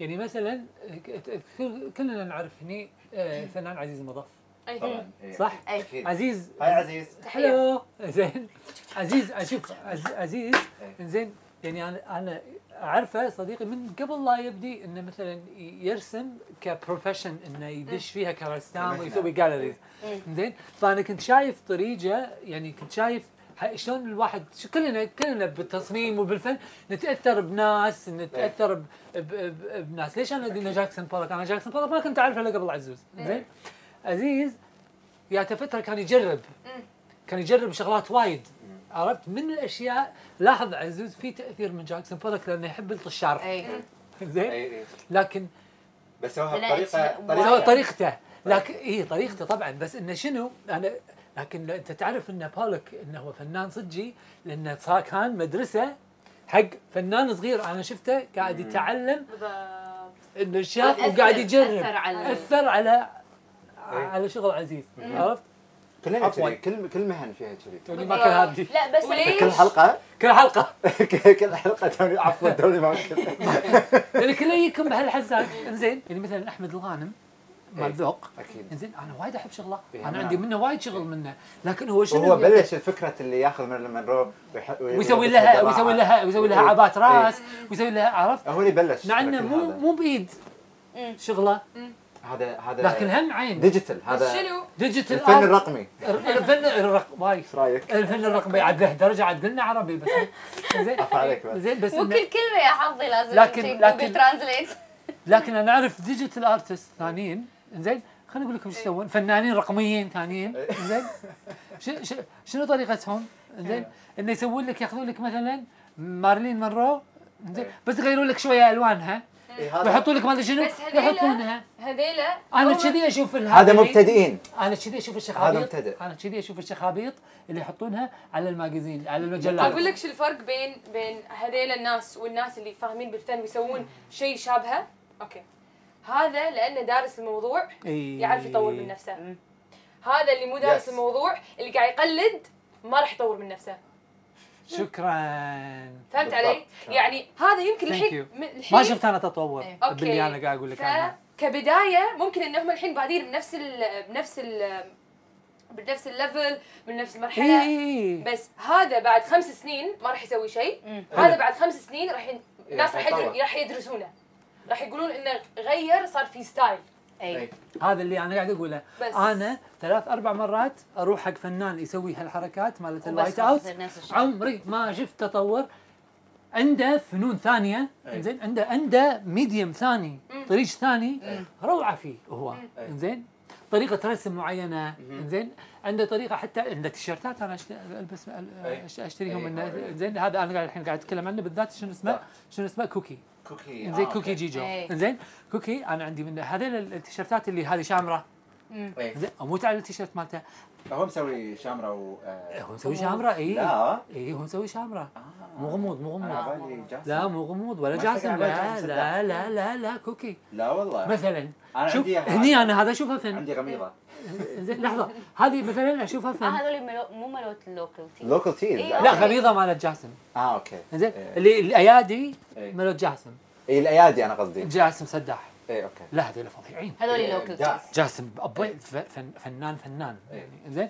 Speaker 3: يعني مثلا ك- كل- كلنا نعرف هني آه، الفنان عزيز المضاف
Speaker 4: اي
Speaker 2: طبعا إيه.
Speaker 3: صح؟
Speaker 1: اي
Speaker 2: أكيد.
Speaker 3: عزيز
Speaker 2: هاي عزيز
Speaker 4: تحيه
Speaker 3: حلو زين عزيز اشوف عز- عزيز
Speaker 2: إيه.
Speaker 3: زين يعني انا انا اعرفه صديقي من قبل لا يبدي انه مثلا ي- يرسم كبروفيشن انه يدش فيها كرسام
Speaker 2: مثلاً.
Speaker 3: ويسوي جاليريز زين فانا كنت شايف طريقه يعني كنت شايف ه- شلون الواحد ش- كلنا كلنا بالتصميم وبالفن نتاثر بناس نتاثر ب- ب- ب- بناس ليش انا قلنا جاكسون بولك انا جاكسون بولك ما كنت اعرفه الا قبل عزوز زين عزيز جاته فتره كان يجرب كان يجرب شغلات وايد عرفت من الاشياء لاحظ عزوز في تاثير من جاكسون بولك لانه يحب الطشار
Speaker 1: اي
Speaker 3: زين
Speaker 2: إيه، إيه.
Speaker 3: لكن
Speaker 2: بس هو
Speaker 1: لا،
Speaker 2: بطريقه
Speaker 1: it's-
Speaker 3: سوى
Speaker 1: وايد.
Speaker 2: طريقه
Speaker 3: طريقته لكن اي طريقته طبعا بس انه شنو انا لكن لو انت تعرف ان بولك انه هو فنان صجي لانه صار كان مدرسه حق فنان صغير انا شفته قاعد يتعلم
Speaker 4: بالضبط
Speaker 3: انه شاف وقاعد
Speaker 1: اثر
Speaker 3: يجرب
Speaker 1: على
Speaker 3: اثر على على شغل عزيز عرفت؟
Speaker 2: كلنا
Speaker 3: عفواً.
Speaker 2: كذي كل كل مهن فيها كذي
Speaker 3: توني ما كان هابدي
Speaker 1: لا بس
Speaker 4: وليش؟
Speaker 2: كل حلقه
Speaker 3: كل حلقه
Speaker 2: كل حلقه توني عفوا توني ما أكل.
Speaker 3: لان يعني كله يكم بهالحزات انزين يعني مثلا احمد الغانم مال
Speaker 2: إيه.
Speaker 3: ذوق
Speaker 2: اكيد
Speaker 3: انزين انا وايد احب شغله
Speaker 2: إيه،
Speaker 3: انا
Speaker 2: نعم.
Speaker 3: عندي منه وايد شغل منه لكن هو شنو
Speaker 2: وهو بلش الفكره اللي ياخذ من المنرو
Speaker 3: ويسوي لها ويسوي لها ويسوي لها
Speaker 2: إيه.
Speaker 3: عبات راس ويسوي لها عرفت
Speaker 2: هو اللي بلش
Speaker 3: مع انه
Speaker 2: لكن
Speaker 3: مو
Speaker 2: هذا- إيه.
Speaker 3: مو بايد شغله
Speaker 2: هذا هذا
Speaker 3: لكن هم عين
Speaker 2: ديجيتال
Speaker 4: بس
Speaker 2: هذا
Speaker 4: شنو
Speaker 3: ديجيتال
Speaker 2: الفن
Speaker 3: آرت.
Speaker 2: الرقمي
Speaker 3: الفن الرقمي واي
Speaker 2: ايش رايك؟
Speaker 3: الفن الرقمي عاد له درجه عاد قلنا عربي بس زين
Speaker 2: عفا عليك بس
Speaker 3: زين بس إنه-
Speaker 1: وكل كلمه يا حظي لازم
Speaker 3: لكن-
Speaker 1: شي Google
Speaker 3: لكن-
Speaker 1: ترانزليت
Speaker 3: لكن انا اعرف ديجيتال ارتست ثانيين زين خليني اقول لكم
Speaker 2: إيه.
Speaker 3: ايش يسوون فنانين رقميين ثانيين زين ش- ش- شنو طريقتهم
Speaker 2: إيه.
Speaker 3: زين انه يسوون لك ياخذون لك مثلا مارلين مونرو زين
Speaker 2: إيه.
Speaker 3: بس يغيرون لك شويه الوانها
Speaker 2: إيه، هذا
Speaker 3: ويحطوا لك ما ادري شنو
Speaker 4: بس إيه هذيلا-
Speaker 3: يحطونها
Speaker 4: هذيلا
Speaker 3: انا
Speaker 4: أول-
Speaker 3: كذي اشوف ال-
Speaker 2: هذا
Speaker 3: هذي-
Speaker 2: مبتدئين
Speaker 3: انا كذي اشوف الشخابيط
Speaker 2: مبتدئ.
Speaker 3: انا كذي اشوف الشخابيط اللي يحطونها على الماجازين على المجلات
Speaker 4: اقول لك شو الفرق بين بين هذيل الناس والناس اللي فاهمين بالفن ويسوون شيء شابهه اوكي هذا لانه دارس الموضوع
Speaker 3: إيه.
Speaker 4: يعرف يطور من نفسه هذا اللي مو
Speaker 2: Yes.
Speaker 4: دارس الموضوع اللي قاعد يقلد ما راح يطور من نفسه
Speaker 3: شكرا
Speaker 4: فهمت
Speaker 2: بالضبط.
Speaker 4: علي؟ يعني هذا يمكن
Speaker 3: Thank
Speaker 4: الحين
Speaker 3: you.
Speaker 4: من- الحين
Speaker 3: ما شفت انا تطور
Speaker 1: إيه.
Speaker 4: أوكي.
Speaker 3: باللي انا قاعد اقول لك عنه
Speaker 4: فكبدايه ممكن ان هم الحين بادين بنفس ال بنفس ال بنفس الليفل من نفس
Speaker 3: إيه،
Speaker 4: المرحله
Speaker 3: إيه، إيه.
Speaker 4: بس هذا بعد خمس سنين ما راح يسوي شيء
Speaker 1: مم.
Speaker 4: هذا بعد خمس سنين راح ين-
Speaker 2: إيه،
Speaker 4: الناس راح يدر-
Speaker 2: حيتطور.
Speaker 4: راح يدرسونه راح يقولون انه غير صار في ستايل
Speaker 1: اي
Speaker 3: هذا اللي انا قاعد اقوله
Speaker 4: بس.
Speaker 3: انا ثلاث اربع مرات اروح حق فنان يسوي هالحركات مالت
Speaker 1: وبس
Speaker 3: الوايت
Speaker 1: خلاص
Speaker 3: اوت
Speaker 1: يصير نفس الشيء.
Speaker 3: عمري ما شفت تطور عنده فنون ثانيه
Speaker 2: أي.
Speaker 3: زين عنده عنده ميديوم ثاني طريق ثاني روعه فيه هو
Speaker 2: أي.
Speaker 3: زين طريقه رسم معينه زين عنده طريقه حتى عنده تيشيرتات انا أشت- البس
Speaker 2: أي.
Speaker 3: أشت- اشتريهم
Speaker 2: أي.
Speaker 3: منه زين هذا انا قاعد الحين قاعد اتكلم عنه بالذات شنو اسمه
Speaker 2: صح.
Speaker 3: شنو اسمه كوكي
Speaker 2: كوكي
Speaker 3: زين
Speaker 2: آه،
Speaker 3: كوكي
Speaker 2: أوكي.
Speaker 3: جيجو
Speaker 1: أي.
Speaker 3: زين كوكي انا عندي منه هذول التيشيرتات اللي هذه شامره
Speaker 2: إيه.
Speaker 3: زين اموت على التيشيرت مالته إيه،
Speaker 2: هو مسوي شامره و آه،
Speaker 3: هو مسوي شامره اي
Speaker 2: لا.
Speaker 3: اي هو مسوي شامره
Speaker 2: آه.
Speaker 3: مو غموض مو
Speaker 2: أنا
Speaker 3: غموض
Speaker 2: على بالي جاسم.
Speaker 3: لا مو غموض ولا
Speaker 2: ما اشتغل
Speaker 3: جاسم
Speaker 2: على
Speaker 3: لا
Speaker 2: جاسم
Speaker 3: لا
Speaker 2: صدق.
Speaker 3: لا لا لا كوكي
Speaker 2: لا والله
Speaker 3: مثلا
Speaker 2: أنا
Speaker 3: شوف
Speaker 2: عندي إياها.
Speaker 3: هني انا هذا اشوفها فن
Speaker 2: عندي غميضه
Speaker 3: إيه، زين لحظه هذه مثلا اشوفها
Speaker 1: آه،
Speaker 3: فن
Speaker 1: هذول ملو- مو ملوت اللوكل تي
Speaker 2: لوكال تيز
Speaker 1: إيه،
Speaker 3: لا
Speaker 1: أوكي.
Speaker 3: غميضه مالت جاسم
Speaker 2: اه اوكي
Speaker 3: زين
Speaker 2: إيه.
Speaker 3: اللي الايادي
Speaker 2: إيه.
Speaker 3: مالت جاسم
Speaker 2: اي الايادي انا قصدي
Speaker 3: جاسم سداح
Speaker 2: اي اوكي
Speaker 3: لا هذول فظيعين
Speaker 1: هذول
Speaker 2: إيه،
Speaker 1: لوكل
Speaker 2: إبداع.
Speaker 1: تيز
Speaker 3: جاسم
Speaker 4: إيه.
Speaker 3: أبوي ف- فن فنان فنان يعني زين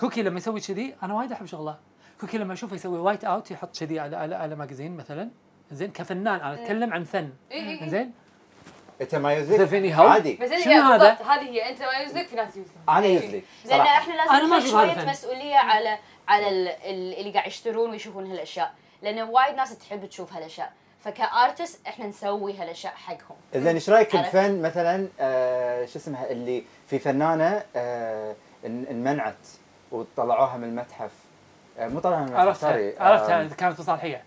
Speaker 3: كوكي لما يسوي كذي انا وايد احب شغله كوكي لما اشوفه يسوي وايت اوت يحط كذي على على على ماجازين مثلا زين كفنان انا اتكلم عن فن
Speaker 4: إيه، إيه، إيه.
Speaker 3: زين
Speaker 2: انت ما يوزلك
Speaker 3: تعرفيني هاو؟
Speaker 2: عادي
Speaker 4: بس
Speaker 3: شنو
Speaker 4: اللي هي
Speaker 3: هذا؟
Speaker 4: بالضبط هذه هي انت ما يوزلك في ناس يوزلك
Speaker 2: انا يوزلي
Speaker 1: لان
Speaker 2: صراحه
Speaker 1: احنا لازم
Speaker 3: أنا ما
Speaker 1: نحط
Speaker 3: أشوف هذا
Speaker 1: شويه
Speaker 3: فن.
Speaker 1: مسؤوليه على على ال- ال- اللي قاعد يشترون ويشوفون هالاشياء لان وايد ناس تحب تشوف هالاشياء فكارتست احنا نسوي هالاشياء حقهم
Speaker 2: اذا ايش رايك
Speaker 1: عرفت.
Speaker 2: الفن مثلا آه، شو اسمها اللي في فنانه آه، ان- انمنعت وطلعوها من المتحف آه، مو طلعوها من المتحف سوري.
Speaker 3: عرفتها عرفتها
Speaker 2: آم،
Speaker 3: كانت مصالحيه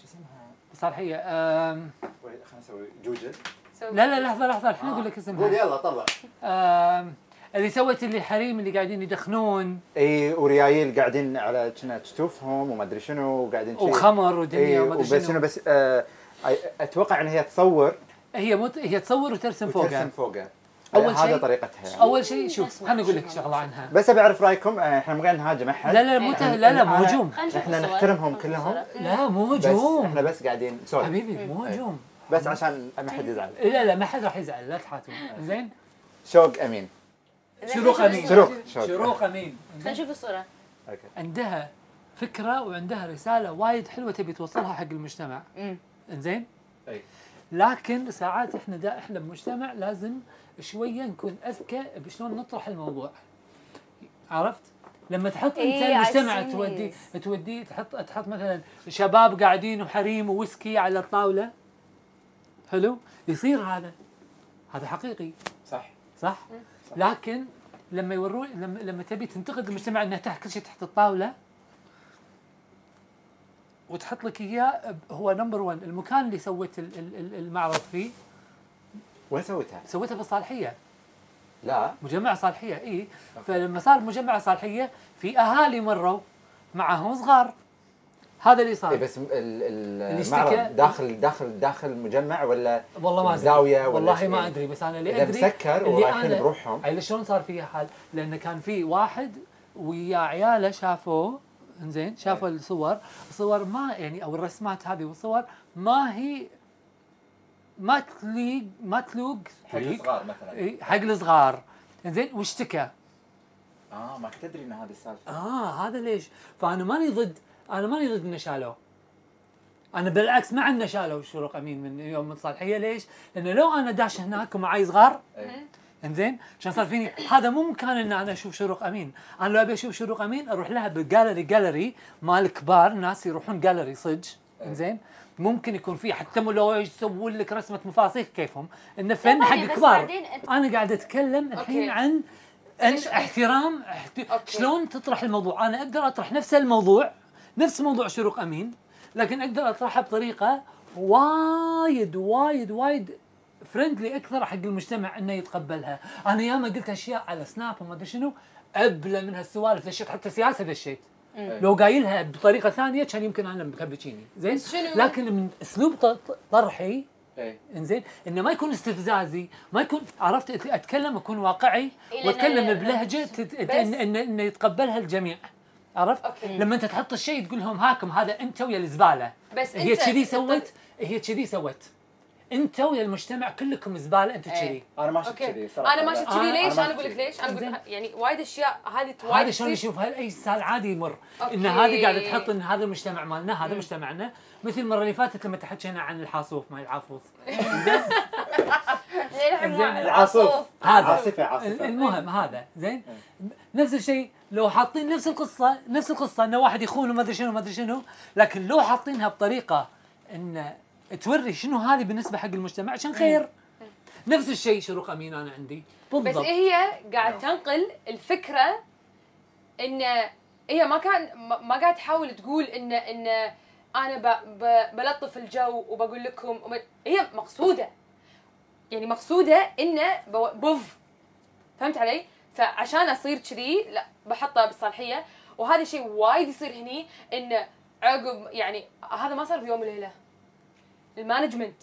Speaker 2: شو اسمها؟
Speaker 3: مصالحيه أم،
Speaker 2: وي- خلنا نسوي جوجل
Speaker 4: سو-
Speaker 3: لا لا لحظه لحظه الحين اقول لك
Speaker 2: قول
Speaker 3: اسمها
Speaker 2: يلا طلع
Speaker 3: أم، اللي سوت اللي حريم اللي قاعدين يدخنون
Speaker 2: اي وريايل قاعدين على كنا تشوفهم وما ادري شنو وقاعدين شي.
Speaker 3: وخمر
Speaker 2: اي
Speaker 3: ودنيا وما
Speaker 2: إيه، وبس
Speaker 3: ادري
Speaker 2: شنو
Speaker 3: شنو
Speaker 2: بس آه، أي- اتوقع ان هي تصور
Speaker 3: هي مت... هي تصور وترسم
Speaker 2: وترسم
Speaker 3: فوقها
Speaker 2: فوقها
Speaker 3: أول
Speaker 2: آه، هذا
Speaker 3: شيء-
Speaker 2: طريقتها يعني.
Speaker 3: اول شيء شوف
Speaker 1: أسمع
Speaker 3: خليني اقول لك
Speaker 1: شنو
Speaker 3: شغله عنها
Speaker 2: بس ابي اعرف رايكم آه، احنا ما قاعد نهاجم احد
Speaker 3: لا لا
Speaker 4: إيه.
Speaker 3: مو ته- لا لا مو
Speaker 2: أنا-
Speaker 3: هجوم
Speaker 1: خلينا نشوف
Speaker 2: إحنا
Speaker 1: الصور.
Speaker 2: نحترمهم
Speaker 1: خلينا
Speaker 2: كلهم.
Speaker 1: نشوف الصور.
Speaker 3: لا مو
Speaker 2: بس إيه. احنا
Speaker 3: هجوم
Speaker 2: بس قاعدين سوري
Speaker 3: حبيبي مو هجوم
Speaker 2: بس عشان ما حد يزعل
Speaker 3: لا لا ما حد راح يزعل لا تحاتون زين
Speaker 2: شوق امين
Speaker 3: شروق امين
Speaker 2: شروق. شروق.
Speaker 3: شروق امين
Speaker 1: خلينا نشوف الصوره
Speaker 2: اوكي
Speaker 3: عندها فكره وعندها رساله وايد حلوه تبي توصلها حق المجتمع
Speaker 1: أمم.
Speaker 3: زين
Speaker 2: اي
Speaker 3: لكن ساعات احنا دا احنا بمجتمع لازم شويه نكون اذكى بشلون نطرح الموضوع عرفت؟ لما تحط انت
Speaker 1: إيه، I
Speaker 3: المجتمع
Speaker 1: see
Speaker 3: تودي تودي تحط تحط مثلا شباب قاعدين وحريم وويسكي على الطاوله حلو؟ يصير هذا هذا حقيقي
Speaker 2: صح
Speaker 3: صح؟ لكن لما يورون لما, لما تبي تنتقد المجتمع انه تحت كل شيء تحت الطاوله وتحط لك اياه ب- هو نمبر 1 المكان اللي سويت ال- ال- ال- المعرض فيه
Speaker 2: وين سويتها؟
Speaker 3: سويته بالصالحيه
Speaker 2: لا
Speaker 3: مجمع صالحيه اي فلما صار مجمع صالحيه في اهالي مروا معهم صغار هذا اللي
Speaker 2: اي
Speaker 3: صار
Speaker 2: إيه، بس ال- ال-
Speaker 3: اللي اشتكى-
Speaker 2: المعرض داخل داخل داخل مجمع ولا
Speaker 3: والله ما ادري
Speaker 2: زاوية ولا
Speaker 3: والله
Speaker 2: شيء.
Speaker 3: ما ادري بس انا اللي
Speaker 2: إذا
Speaker 3: ادري
Speaker 2: مسكر
Speaker 3: اللي
Speaker 2: ورايحين
Speaker 3: أنا-
Speaker 2: بروحهم.
Speaker 3: على شلون صار فيها حال لان كان في واحد ويا عياله شافوه انزين شافوا
Speaker 2: إيه.
Speaker 3: الصور الصور ما يعني او الرسمات هذه والصور ما هي ما تليق ما تلوق تليق.
Speaker 2: مثلا
Speaker 3: إي، حق الصغار انزين واشتكى
Speaker 2: اه ما كنت ادري ان هذه السالفه
Speaker 3: اه هذا ليش؟ فانا ماني ضد انا ماني ضد انه شالوه. انا بالعكس مع انه شالوا شروق امين من يوم من صالحيه ليش؟ لانه لو انا داش هناك ومعاي صغار
Speaker 2: إيه.
Speaker 3: انزين عشان صار فيني هذا مو مكان ان انا اشوف شروق امين، انا لو ابي اشوف شروق امين اروح لها بالجاليري جاليري مال كبار ناس يروحون جاليري صج انزين ممكن يكون في حتى مو لو يسوون لك رسمه مفاصيخ كيفهم انه فن
Speaker 1: ثواني،
Speaker 3: حق
Speaker 1: بس
Speaker 3: كبار
Speaker 1: بعدين أنت-
Speaker 3: انا قاعد اتكلم الحين
Speaker 4: أوكي.
Speaker 3: عن عن
Speaker 4: ليش-
Speaker 3: احترام احت...
Speaker 4: أوكي.
Speaker 3: شلون تطرح الموضوع انا اقدر اطرح نفس الموضوع نفس موضوع شروق امين لكن اقدر اطرحه بطريقه وايد وايد وايد فرندلي اكثر حق المجتمع انه يتقبلها انا ياما قلت اشياء على سناب وما ادري شنو ابله من هالسوالف دشيت حتى سياسه دشيت
Speaker 2: إيه.
Speaker 3: لو قايلها بطريقه ثانيه كان يمكن انا كابتشيني زين
Speaker 4: بس شنو؟
Speaker 3: لكن من اسلوب ط- ط- طرحي
Speaker 2: اي
Speaker 3: انزين انه ما يكون استفزازي ما يكون عرفت أت- اتكلم اكون واقعي
Speaker 1: إيه، لأن-
Speaker 3: واتكلم
Speaker 1: لأن-
Speaker 3: بلهجه تت-
Speaker 4: بس-
Speaker 3: ان ان ان يتقبلها الجميع عرفت
Speaker 4: أوكي.
Speaker 3: لما انت تحط الشيء تقول لهم هاكم هذا انت ويا الزباله
Speaker 4: بس
Speaker 3: هي
Speaker 4: أنت-
Speaker 3: كذي
Speaker 4: أنت-
Speaker 3: سوت هي كذي سوت انت ويا المجتمع كلكم زباله انت
Speaker 4: إيه.
Speaker 3: كذي
Speaker 2: انا ما شفت
Speaker 4: اوكي
Speaker 2: كذي صراحه
Speaker 4: انا ما شفت
Speaker 3: أنا-
Speaker 4: كذي ليش
Speaker 2: أنا ما
Speaker 4: انا اقول لك
Speaker 2: شفت
Speaker 4: ليش انا
Speaker 3: إنزين.
Speaker 4: اقول يعني وايد اشياء هذه وايد
Speaker 3: هذا شلون
Speaker 4: تصير.
Speaker 3: يشوفها اي انسان عادي يمر
Speaker 4: أوكي.
Speaker 3: ان هذه قاعده تحط ان هذا المجتمع مالنا هذا مجتمعنا مثل المره اللي فاتت لما تحكينا عن الحاصوف ما العافوف إنزين.
Speaker 2: إيه، العاصف
Speaker 3: هذا.
Speaker 2: عاصفه عاصفه
Speaker 3: المهم هذا زين نفس الشيء لو حاطين نفس القصه نفس القصه انه واحد يخون وما ادري شنو ما ادري شنو لكن لو حاطينها بطريقه ان توري شنو هذه بالنسبه حق المجتمع عشان خير
Speaker 1: إيه.
Speaker 3: نفس الشيء شروق امين انا عندي
Speaker 4: بس
Speaker 3: بالضبط نعم.
Speaker 4: إيه هي قاعد تنقل الفكره ان هي ما كان ما ما قاعد تحاول تقول ان ان انا ب ب بلطف الجو وبقول لكم وب- هي مقصوده يعني مقصوده انه بو- بوف فهمت علي؟ فعشان اصير كذي لا بحطها بالصالحيه وهذا الشيء وايد يصير هني انه عقب يعني هذا ما صار بيوم وليله المانجمنت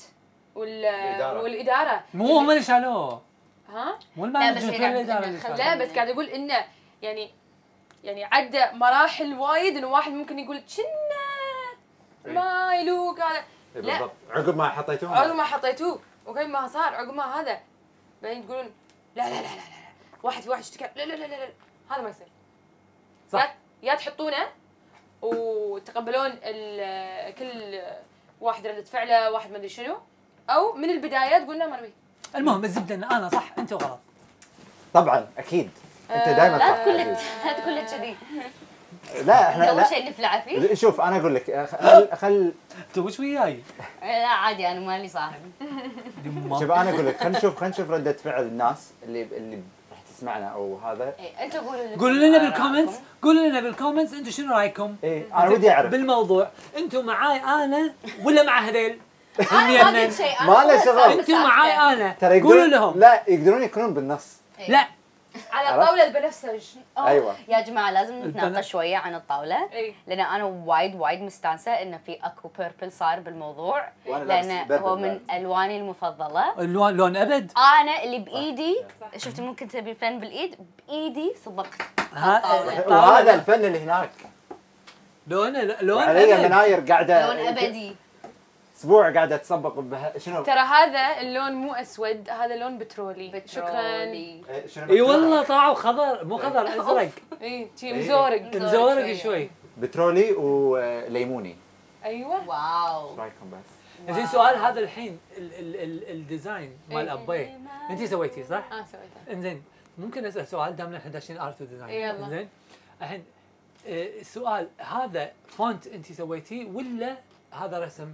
Speaker 4: وال
Speaker 2: الإدارة.
Speaker 4: والاداره
Speaker 3: مو هم اللي شالوه
Speaker 4: ها
Speaker 3: مو
Speaker 1: بس
Speaker 3: المانجمنت
Speaker 1: هي
Speaker 3: ولا
Speaker 1: قاعدة
Speaker 3: الاداره
Speaker 1: تقول
Speaker 3: اللي
Speaker 1: إنه
Speaker 3: شالوه.
Speaker 4: لا بس قاعد اقول انه يعني يعني عدى مراحل وايد انه واحد ممكن يقول كنا ما يلوق هذا
Speaker 2: إي
Speaker 4: لا.
Speaker 2: بالضبط عقب ما حطيتوهم
Speaker 4: عقب ما حطيتوه وكل ما صار عقب ما هذا بعدين تقولون لا لا لا لا لا لا. واحد في واحد اشتكى لا لا لا لا لا هذا ما يصير
Speaker 3: صح.
Speaker 4: يا- يا تحطونه وتقبلون ال- كل واحد ردة فعله واحد ما ادري شنو او من البدايه تقول لا ما نبي
Speaker 3: المهم الزبده ان انا صح انت غلط
Speaker 2: طبعا اكيد انت دائما
Speaker 1: لا تقول لك لا تقول لك كذي
Speaker 2: لا احنا
Speaker 1: اول
Speaker 2: لا
Speaker 1: شيء نفلع فيه
Speaker 2: شوف انا اقول لك خل خل
Speaker 3: انت وش وياي؟
Speaker 1: لا عادي انا مالي صاحب
Speaker 2: شوف انا اقول لك خلينا نشوف خلينا نشوف رده فعل الناس اللي اللي راح تسمعنا او هذا
Speaker 1: إيه، انتوا قولوا لي
Speaker 3: قولوا لنا
Speaker 1: آرائكم.
Speaker 3: بالكومنتس قولوا لنا بالكومنتس انتم شنو رايكم؟
Speaker 2: ايه انا ودي اعرف
Speaker 3: بالموضوع انتم معاي انا ولا مع هذيل؟ هم
Speaker 1: انا آه، ما
Speaker 3: يمن
Speaker 1: قلت شيء
Speaker 2: ما له شغل.
Speaker 3: انتم معاي انا
Speaker 2: ترى
Speaker 3: قولوا
Speaker 2: يقدرون-
Speaker 3: لهم
Speaker 2: لا يقدرون يكونون بالنص
Speaker 3: لا
Speaker 4: على
Speaker 2: عرفت؟
Speaker 4: الطاوله البنفسج
Speaker 2: أيوة.
Speaker 1: يا جماعه لازم
Speaker 3: البنات.
Speaker 1: نتناقش شويه عن الطاوله
Speaker 4: إي.
Speaker 1: لان انا وايد وايد مستانسه انه في اكو بيربل صاير بالموضوع
Speaker 2: وأنا لابس
Speaker 1: لان
Speaker 2: purple
Speaker 1: هو
Speaker 2: بعد.
Speaker 1: من الواني المفضله
Speaker 3: اللون لون ابد
Speaker 1: انا اللي بايدي
Speaker 4: صح.
Speaker 1: شفت ممكن تبي فن بالايد بايدي صبغت
Speaker 3: ها-
Speaker 1: طاولة.
Speaker 2: وهذا الفن اللي هناك
Speaker 3: لونه ل- لون
Speaker 2: علي
Speaker 3: ابد
Speaker 2: مناير
Speaker 4: آه،
Speaker 2: قاعده
Speaker 1: لون ابدي
Speaker 2: اسبوع قاعده تسبق بها شنو
Speaker 4: ترى هذا اللون مو اسود هذا لون بترولي, شكرا
Speaker 1: بترولي.
Speaker 2: إيه، شنو
Speaker 3: اي والله طاعوا خضر مو خضر ازرق
Speaker 4: اي شي مزورق
Speaker 1: إيه.
Speaker 3: مزورق
Speaker 1: شوي.
Speaker 3: شوي
Speaker 2: بترولي وليموني
Speaker 4: ايوه
Speaker 2: ايش
Speaker 1: واو
Speaker 2: رايكم بس؟
Speaker 3: زين سؤال هذا الحين ال- ال- ال- الديزاين مال
Speaker 4: إيه.
Speaker 3: ابوي انت سويتيه صح؟
Speaker 4: اه سويته
Speaker 3: انزين ممكن اسال سؤال دامنا احنا داشين ارت وديزاين
Speaker 4: يلا.
Speaker 3: انزين الحين آه، سؤال هذا فونت انت سويتيه ولا هذا رسم؟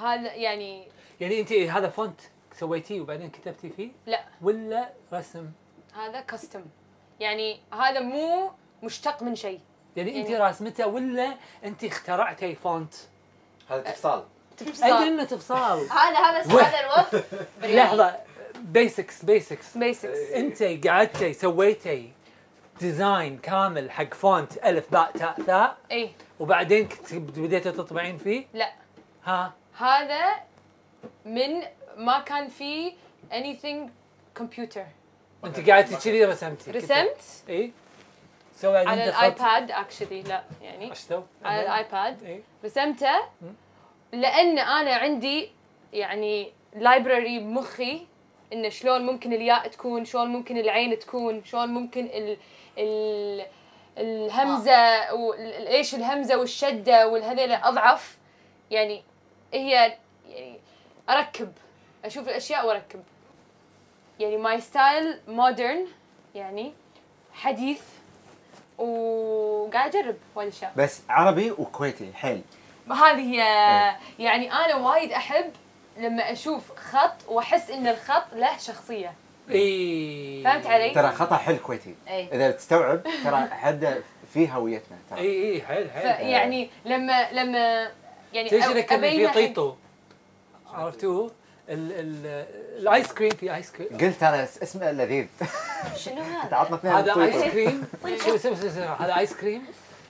Speaker 4: هذا يعني
Speaker 3: يعني انت هذا فونت سويتيه وبعدين كتبتي فيه
Speaker 4: لا
Speaker 3: ولا رسم؟
Speaker 4: هذا كاستم يعني هذا مو مشتق من شيء
Speaker 3: يعني انت
Speaker 4: يعني-
Speaker 3: راسمته ولا انت اخترعتي فونت؟
Speaker 2: هذا تفصال
Speaker 3: ادري
Speaker 4: تفصيل
Speaker 3: انه تفصال
Speaker 1: هذا هذا هذا الوقت
Speaker 3: لحظه بيسكس بيسكس إيه،
Speaker 4: بيسكس
Speaker 3: انت قعدتي سويتي ديزاين كامل حق فونت الف باء تاء ثاء
Speaker 4: اي
Speaker 3: وبعدين كت- بديتي تطبعين فيه
Speaker 4: لا
Speaker 3: ها
Speaker 4: هذا من ما كان فيه anything computer
Speaker 3: انت قعدتي كذي رسمتي
Speaker 4: رسمت
Speaker 3: اي سوي
Speaker 4: على الايباد اكشلي لا يعني
Speaker 3: اشتو
Speaker 4: على الايباد
Speaker 3: اي
Speaker 4: رسمته لان انا عندي يعني لايبرري بمخي انه شلون ممكن الياء تكون شلون ممكن العين تكون شلون ممكن ال ال الهمزه وال- ال- ايش الهمزه والشده والهذيله اضعف يعني هي يعني اركب اشوف الاشياء واركب يعني ماي ستايل مودرن يعني حديث وقاعد اجرب وايد اشياء
Speaker 2: بس عربي وكويتي حيل
Speaker 4: هذه هي يعني انا وايد احب لما اشوف خط واحس ان الخط له شخصيه
Speaker 3: اي
Speaker 4: فهمت علي؟
Speaker 2: ترى خطا حيل كويتي
Speaker 1: إيه.
Speaker 2: اذا تستوعب ترى حد في هويتنا ترى
Speaker 3: اي اي إيه، حيل حيل
Speaker 4: يعني لما لما يعني
Speaker 3: تدري
Speaker 4: أو-
Speaker 3: شنو كان في
Speaker 4: أبينه حق-
Speaker 3: طيطو عرفتوه ال- ال- الايس كريم في ايس كريم
Speaker 2: قلت انا اس- اسمه لذيذ
Speaker 1: شنو هذا؟
Speaker 2: تعطنا اثنين طيب.
Speaker 3: هذا
Speaker 2: تويتر.
Speaker 3: ايس كريم شو اسمه اسمه- اسمه- هذا ايس كريم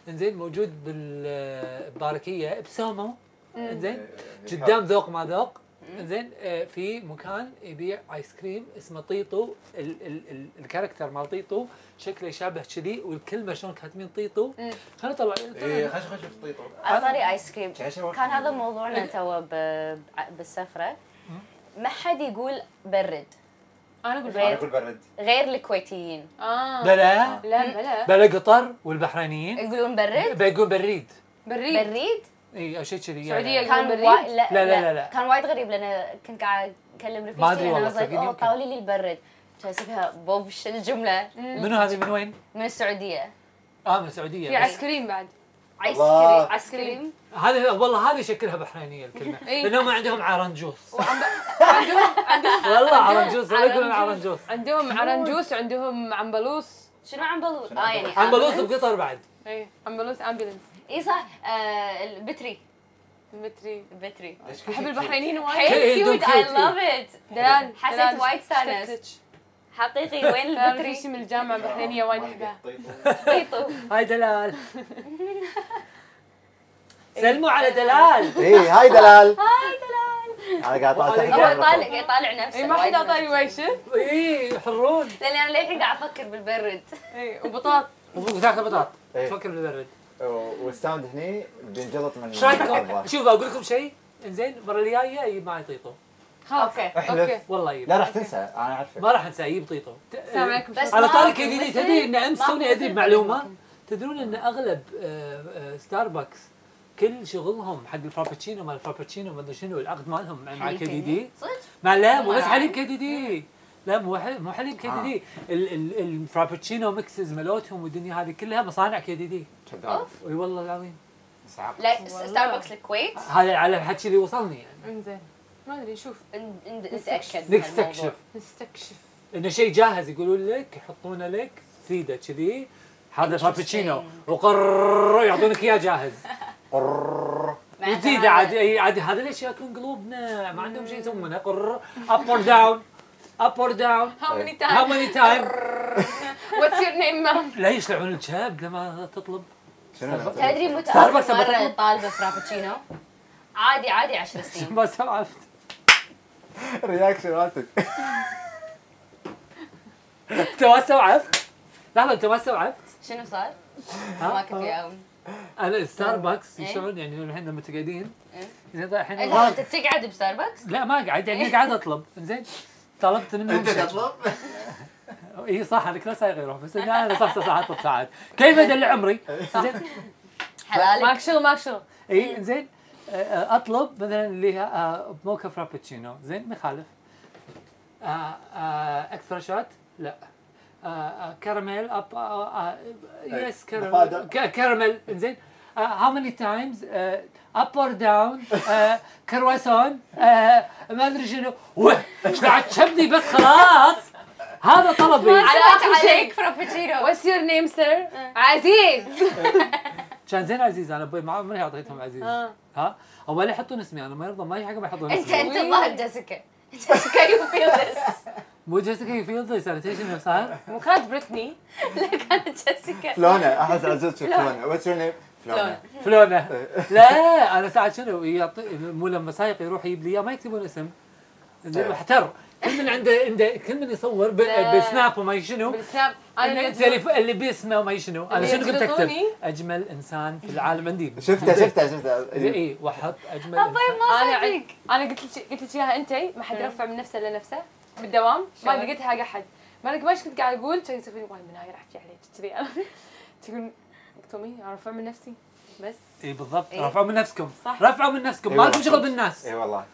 Speaker 3: انزين موجود بالباركيه بسومو انزين قدام ذوق ما ذوق زين آه، في مكان يبيع ايس كريم اسمه طيطو ال- ال- ال- الكاركتر مال طيطو شكله يشابه كذي والكلمه شلون كاتبين طيطو خلينا نطلع
Speaker 2: اي خش خش في طيطو
Speaker 1: على طاري ايس كريم
Speaker 2: شاشة وقت
Speaker 1: كان هذا
Speaker 2: مو-
Speaker 4: إيه.
Speaker 1: موضوعنا تو ب- بالسفره ما حد يقول برد
Speaker 4: انا اقول
Speaker 2: انا
Speaker 1: غير-
Speaker 4: بيض
Speaker 2: اقول برد
Speaker 1: غير الكويتيين
Speaker 4: اه
Speaker 3: بلا
Speaker 4: لا بلا
Speaker 3: بلا قطر والبحرينيين
Speaker 1: يقولون برد
Speaker 3: بيقول بريد
Speaker 4: بريد
Speaker 1: بريد
Speaker 3: اي او شيء كذي
Speaker 4: سعودية
Speaker 3: يعني.
Speaker 1: كان
Speaker 4: بريد؟
Speaker 1: وايد لا,
Speaker 3: لا- لا- لا.
Speaker 1: كان وايد غريب لان كنت قاعد اكلم رفيقتي
Speaker 3: ما أدري
Speaker 1: لأن
Speaker 3: والله،
Speaker 1: أنا صاير،
Speaker 3: صدقني
Speaker 1: "أوه،
Speaker 3: يمكن."
Speaker 1: طاولي لي البرد تمسكها بوبش الجمله
Speaker 3: منو هذه من وين؟
Speaker 1: من السعوديه
Speaker 3: اه من
Speaker 4: في
Speaker 3: السعوديه
Speaker 4: ايس كريم بعد
Speaker 1: ايس
Speaker 2: الله.
Speaker 1: كريم
Speaker 4: ايس كريم
Speaker 3: هذه والله هذه شكلها بحرينيه الكلمه
Speaker 4: إي.
Speaker 3: لانهم عندهم عرنجوس
Speaker 4: عندهم عندهم
Speaker 3: والله عرنجوس لا يقولون عرنجوس
Speaker 4: عندهم عرنجوس وعندهم عنبلوس
Speaker 1: شنو عم بلوط
Speaker 2: شنو
Speaker 1: اه
Speaker 2: عم
Speaker 1: يعني
Speaker 2: بلوط؟
Speaker 3: عنبلوس
Speaker 1: ambulance.
Speaker 3: بقطر بعد
Speaker 4: اي عنبلوس امبيلنس
Speaker 1: اي صح آه، البتري
Speaker 4: متري
Speaker 1: البتري
Speaker 2: ليش كل
Speaker 4: احب
Speaker 2: شيء
Speaker 4: البحرينيين وايد
Speaker 3: إيه،
Speaker 1: حيل
Speaker 3: دوم
Speaker 1: كيوت اي
Speaker 3: cute،
Speaker 1: لاف ات
Speaker 4: دلال
Speaker 1: حسيت
Speaker 4: دلال
Speaker 1: وايد سانست.
Speaker 4: شتتش.
Speaker 1: حقيقي وين
Speaker 4: دلال رفيقتي
Speaker 1: البتري
Speaker 4: من الجامعه البحرينيه وايد احبها
Speaker 2: احبها
Speaker 1: بيطو
Speaker 3: هاي دلال سلموا على دلال
Speaker 2: اي إيه، هاي دلال
Speaker 1: هاي دلال
Speaker 2: انا قاعد
Speaker 3: وعليك.
Speaker 1: هو
Speaker 2: اطالع
Speaker 1: طالع قاعد يطالع نفسه
Speaker 4: اي إيه، ما
Speaker 1: وايد
Speaker 4: حد اعطاني ويشن
Speaker 3: اي حرون
Speaker 1: لاني انا للحين قاعد افكر بالبرد
Speaker 4: اي وبطاط
Speaker 3: وذاك البطاط
Speaker 2: إيه.
Speaker 3: تفكر بالبرد
Speaker 2: والساوند هني بينجلط من
Speaker 3: ايش رايكم؟
Speaker 2: الأرض.
Speaker 3: شوف اقول لكم شيء انزين المره الجايه يجيب معي طيطو
Speaker 4: خلاص
Speaker 1: أوكي.
Speaker 2: احلف.
Speaker 4: اوكي
Speaker 3: والله يجيب
Speaker 2: لا راح تنسى انا اعرفه
Speaker 3: ما راح انسى يجيب طيطو ت-
Speaker 4: السلام عليكم
Speaker 1: أه، بس
Speaker 3: على
Speaker 1: ما
Speaker 3: طاري
Speaker 1: ممكن
Speaker 3: كذي
Speaker 1: مثل-
Speaker 3: تدري ان امس
Speaker 1: ما
Speaker 3: توني
Speaker 1: ممكن
Speaker 3: ادري
Speaker 1: مثل-
Speaker 3: بمعلومه تدرون ان اغلب آه، آه، ستاربكس كل شغلهم حق الفرابتشينو مع الفرابتشينو ما ادري شنو العقد مالهم مع- مع
Speaker 1: حليب
Speaker 3: كي دي
Speaker 1: كيدي؟
Speaker 3: دي
Speaker 1: صدق
Speaker 3: مع لا مو بس حليب إيه. كي دي دي لا مو حليب مو حليب كي دي
Speaker 2: آه.
Speaker 3: دي ال- ال- الفرابتشينو ميكسز مالتهم والدنيا هذه كلها مصانع كي دي دي
Speaker 2: كذاب
Speaker 3: اي والله العظيم
Speaker 2: صعب
Speaker 1: لا
Speaker 4: والله.
Speaker 1: ستاربكس الكويت
Speaker 3: هذا على الحكي اللي وصلني يعني
Speaker 4: انزين ما ادري شوف
Speaker 1: ن- ن- نتاكد من
Speaker 3: نستكشف
Speaker 1: الموضوع.
Speaker 4: نستكشف
Speaker 3: انه شيء جاهز يقولون لك يحطونه لك سيده كذي هذا فرابتشينو وقرر يعطونك اياه جاهز
Speaker 1: مع إن
Speaker 3: جديدة
Speaker 1: هذا-
Speaker 3: عاد اي عاد هذا ليش ياكلون قلوبنا ما عندهم شيء يسمونه قر اب اور داون اب اور داون
Speaker 4: هاو ماني
Speaker 3: هاو
Speaker 4: تايم
Speaker 3: ماني تايم
Speaker 4: واتس يور نيم مام
Speaker 3: لا يشلعون الشاب لما تطلب
Speaker 2: شنو
Speaker 1: تدري متى
Speaker 3: ستاربكس
Speaker 1: اخر مره
Speaker 3: بطلب.
Speaker 1: طالبه فرابتشينو عادي عادي 10 سنين
Speaker 3: ما سمعت
Speaker 2: الرياكشن مالتك
Speaker 3: انت ما استوعبت لحظة انت ما استوعبت
Speaker 1: شنو صار؟
Speaker 3: ها؟
Speaker 1: ما كنت وياهم
Speaker 3: انا ستاربكس
Speaker 1: إيه.
Speaker 3: يشلون يعني الحين لما تقعدين
Speaker 1: إيه. إيه.
Speaker 3: زين طيب الحين
Speaker 1: إذا انت تقعد بستاربكس
Speaker 3: لا ما قاعد يعني قاعد اطلب زين طلبت منهم
Speaker 2: انت
Speaker 3: شيء.
Speaker 2: تطلب
Speaker 3: اي صح انا كل ساعه يغيرون بس انا أنا صح صح صح اطلب ساعات كيف ادلي عمري؟ زين
Speaker 1: حلالك
Speaker 4: ماك شغل ماك شغل
Speaker 3: اي زين اطلب مثلا اللي هي آه، موكا فرابتشينو زين ما يخالف آه، آه، اكثر شوت لا آه، آه، كراميل اب آه، آه، يس كراميل
Speaker 2: فادر.
Speaker 3: ك- كراميل زين آه، هاو ماني تايمز اب اور داون آه، كرواسون آه، ما ادري شنو وه، ايش قاعد تشبني بس خلاص هذا طلبي
Speaker 4: على آخر شيء.
Speaker 1: عليك آه. فرابتشينو
Speaker 4: واتس يور نيم سير عزيز
Speaker 3: كان زين عزيز انا ابوي ما عمري اعطيتهم عزيز
Speaker 4: آه.
Speaker 3: ها او ما يحطون اسمي انا ما يرضى ما يحق ما يحطون
Speaker 1: انت
Speaker 3: اسمي
Speaker 1: انت الظاهر جيسيكا جيسيكا يو فيل ذس
Speaker 3: مو جيسيكا يفيلد ذيس عرفت ايش انه صار؟
Speaker 4: مو كانت بريتني
Speaker 1: كانت جيسيكا
Speaker 2: فلونه احس عزوز فلونه واتس يور نيم فلونه
Speaker 3: فلونه لا انا ساعات شنو يعطي مو لما سايق يروح يجيب لي اياه ما يكتبون اسم زين
Speaker 2: إيه.
Speaker 3: محتر كل من عنده عنده كل من يصور ب-
Speaker 4: لا.
Speaker 3: بسناب وما شنو
Speaker 4: بالسناب
Speaker 3: إنه
Speaker 4: انا
Speaker 3: تليف- اللي باسمه وما شنو انا
Speaker 4: اللي
Speaker 3: شنو كنت اكتب؟
Speaker 4: يجلطوني.
Speaker 3: اجمل انسان في العالم عندي
Speaker 2: شفته شفته شفته إيه،
Speaker 3: اي واحط اجمل
Speaker 1: ابوي
Speaker 3: إنسان.
Speaker 1: طيب، ما
Speaker 4: انا
Speaker 1: صدق
Speaker 4: عن- انا قلت لك قلت لك اياها انت ما حد يرفع من نفسه الا نفسه بالدوام ما
Speaker 1: شلون؟
Speaker 4: لقيتها حق احد ما لقيت ما كنت قاعد اقول كان يسوي لي وايد من هاي راح في عليك كذي انا تقول تومي ارفع من نفسي بس
Speaker 3: اي بالضبط
Speaker 1: إيه.
Speaker 3: رفعوا من نفسكم
Speaker 4: صح.
Speaker 3: رفعوا من نفسكم
Speaker 2: إيه
Speaker 3: ما لكم
Speaker 2: والله.
Speaker 3: شغل بالناس
Speaker 2: اي والله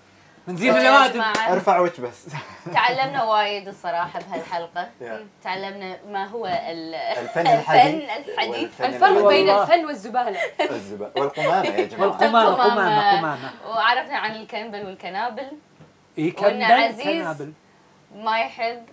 Speaker 3: من زين
Speaker 1: يا
Speaker 3: الوادم
Speaker 1: جماعة
Speaker 2: ارفع وجه بس
Speaker 1: تعلمنا وايد الصراحة بهالحلقة
Speaker 2: يا.
Speaker 1: تعلمنا ما هو ال-
Speaker 2: الفن
Speaker 1: الفن
Speaker 2: الحديث
Speaker 1: الحديث
Speaker 4: الفرق
Speaker 3: والله.
Speaker 4: بين الفن والزباله
Speaker 2: الزبالة والقمامة يا جماعة
Speaker 3: والقمامة قمامة
Speaker 1: القمامة.
Speaker 3: قمامة
Speaker 1: وعرفنا عن الكنبل والكنابل
Speaker 3: اي
Speaker 1: وإن
Speaker 3: كنبل
Speaker 1: عزيز-
Speaker 3: كنابل
Speaker 1: ما يحب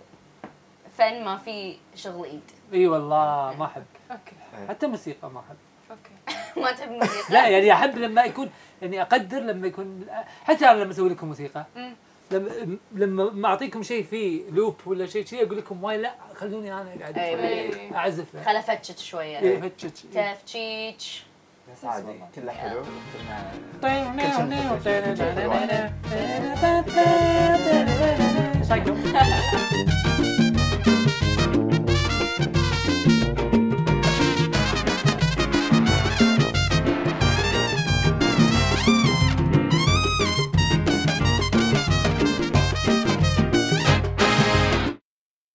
Speaker 1: فن ما فيه شغل ايد
Speaker 3: اي والله ما احب
Speaker 4: اوكي
Speaker 3: حتى موسيقى ما احب
Speaker 4: اوكي
Speaker 1: ما تحب موسيقى
Speaker 3: لا يعني احب لما يكون يعني اقدر لما يكون حتى انا لما اسوي لكم موسيقى
Speaker 4: مم.
Speaker 3: لما لما ما اعطيكم شيء فيه لوب ولا شيء شيء اقول لكم واي لا خلوني انا قاعد
Speaker 1: أي.
Speaker 3: أتفرج. اعزف
Speaker 1: خل افتش إيه، شوية
Speaker 3: إيه، فتش-
Speaker 1: تفتشيتش
Speaker 2: بس عادي كله حلو كنا
Speaker 3: Psycho.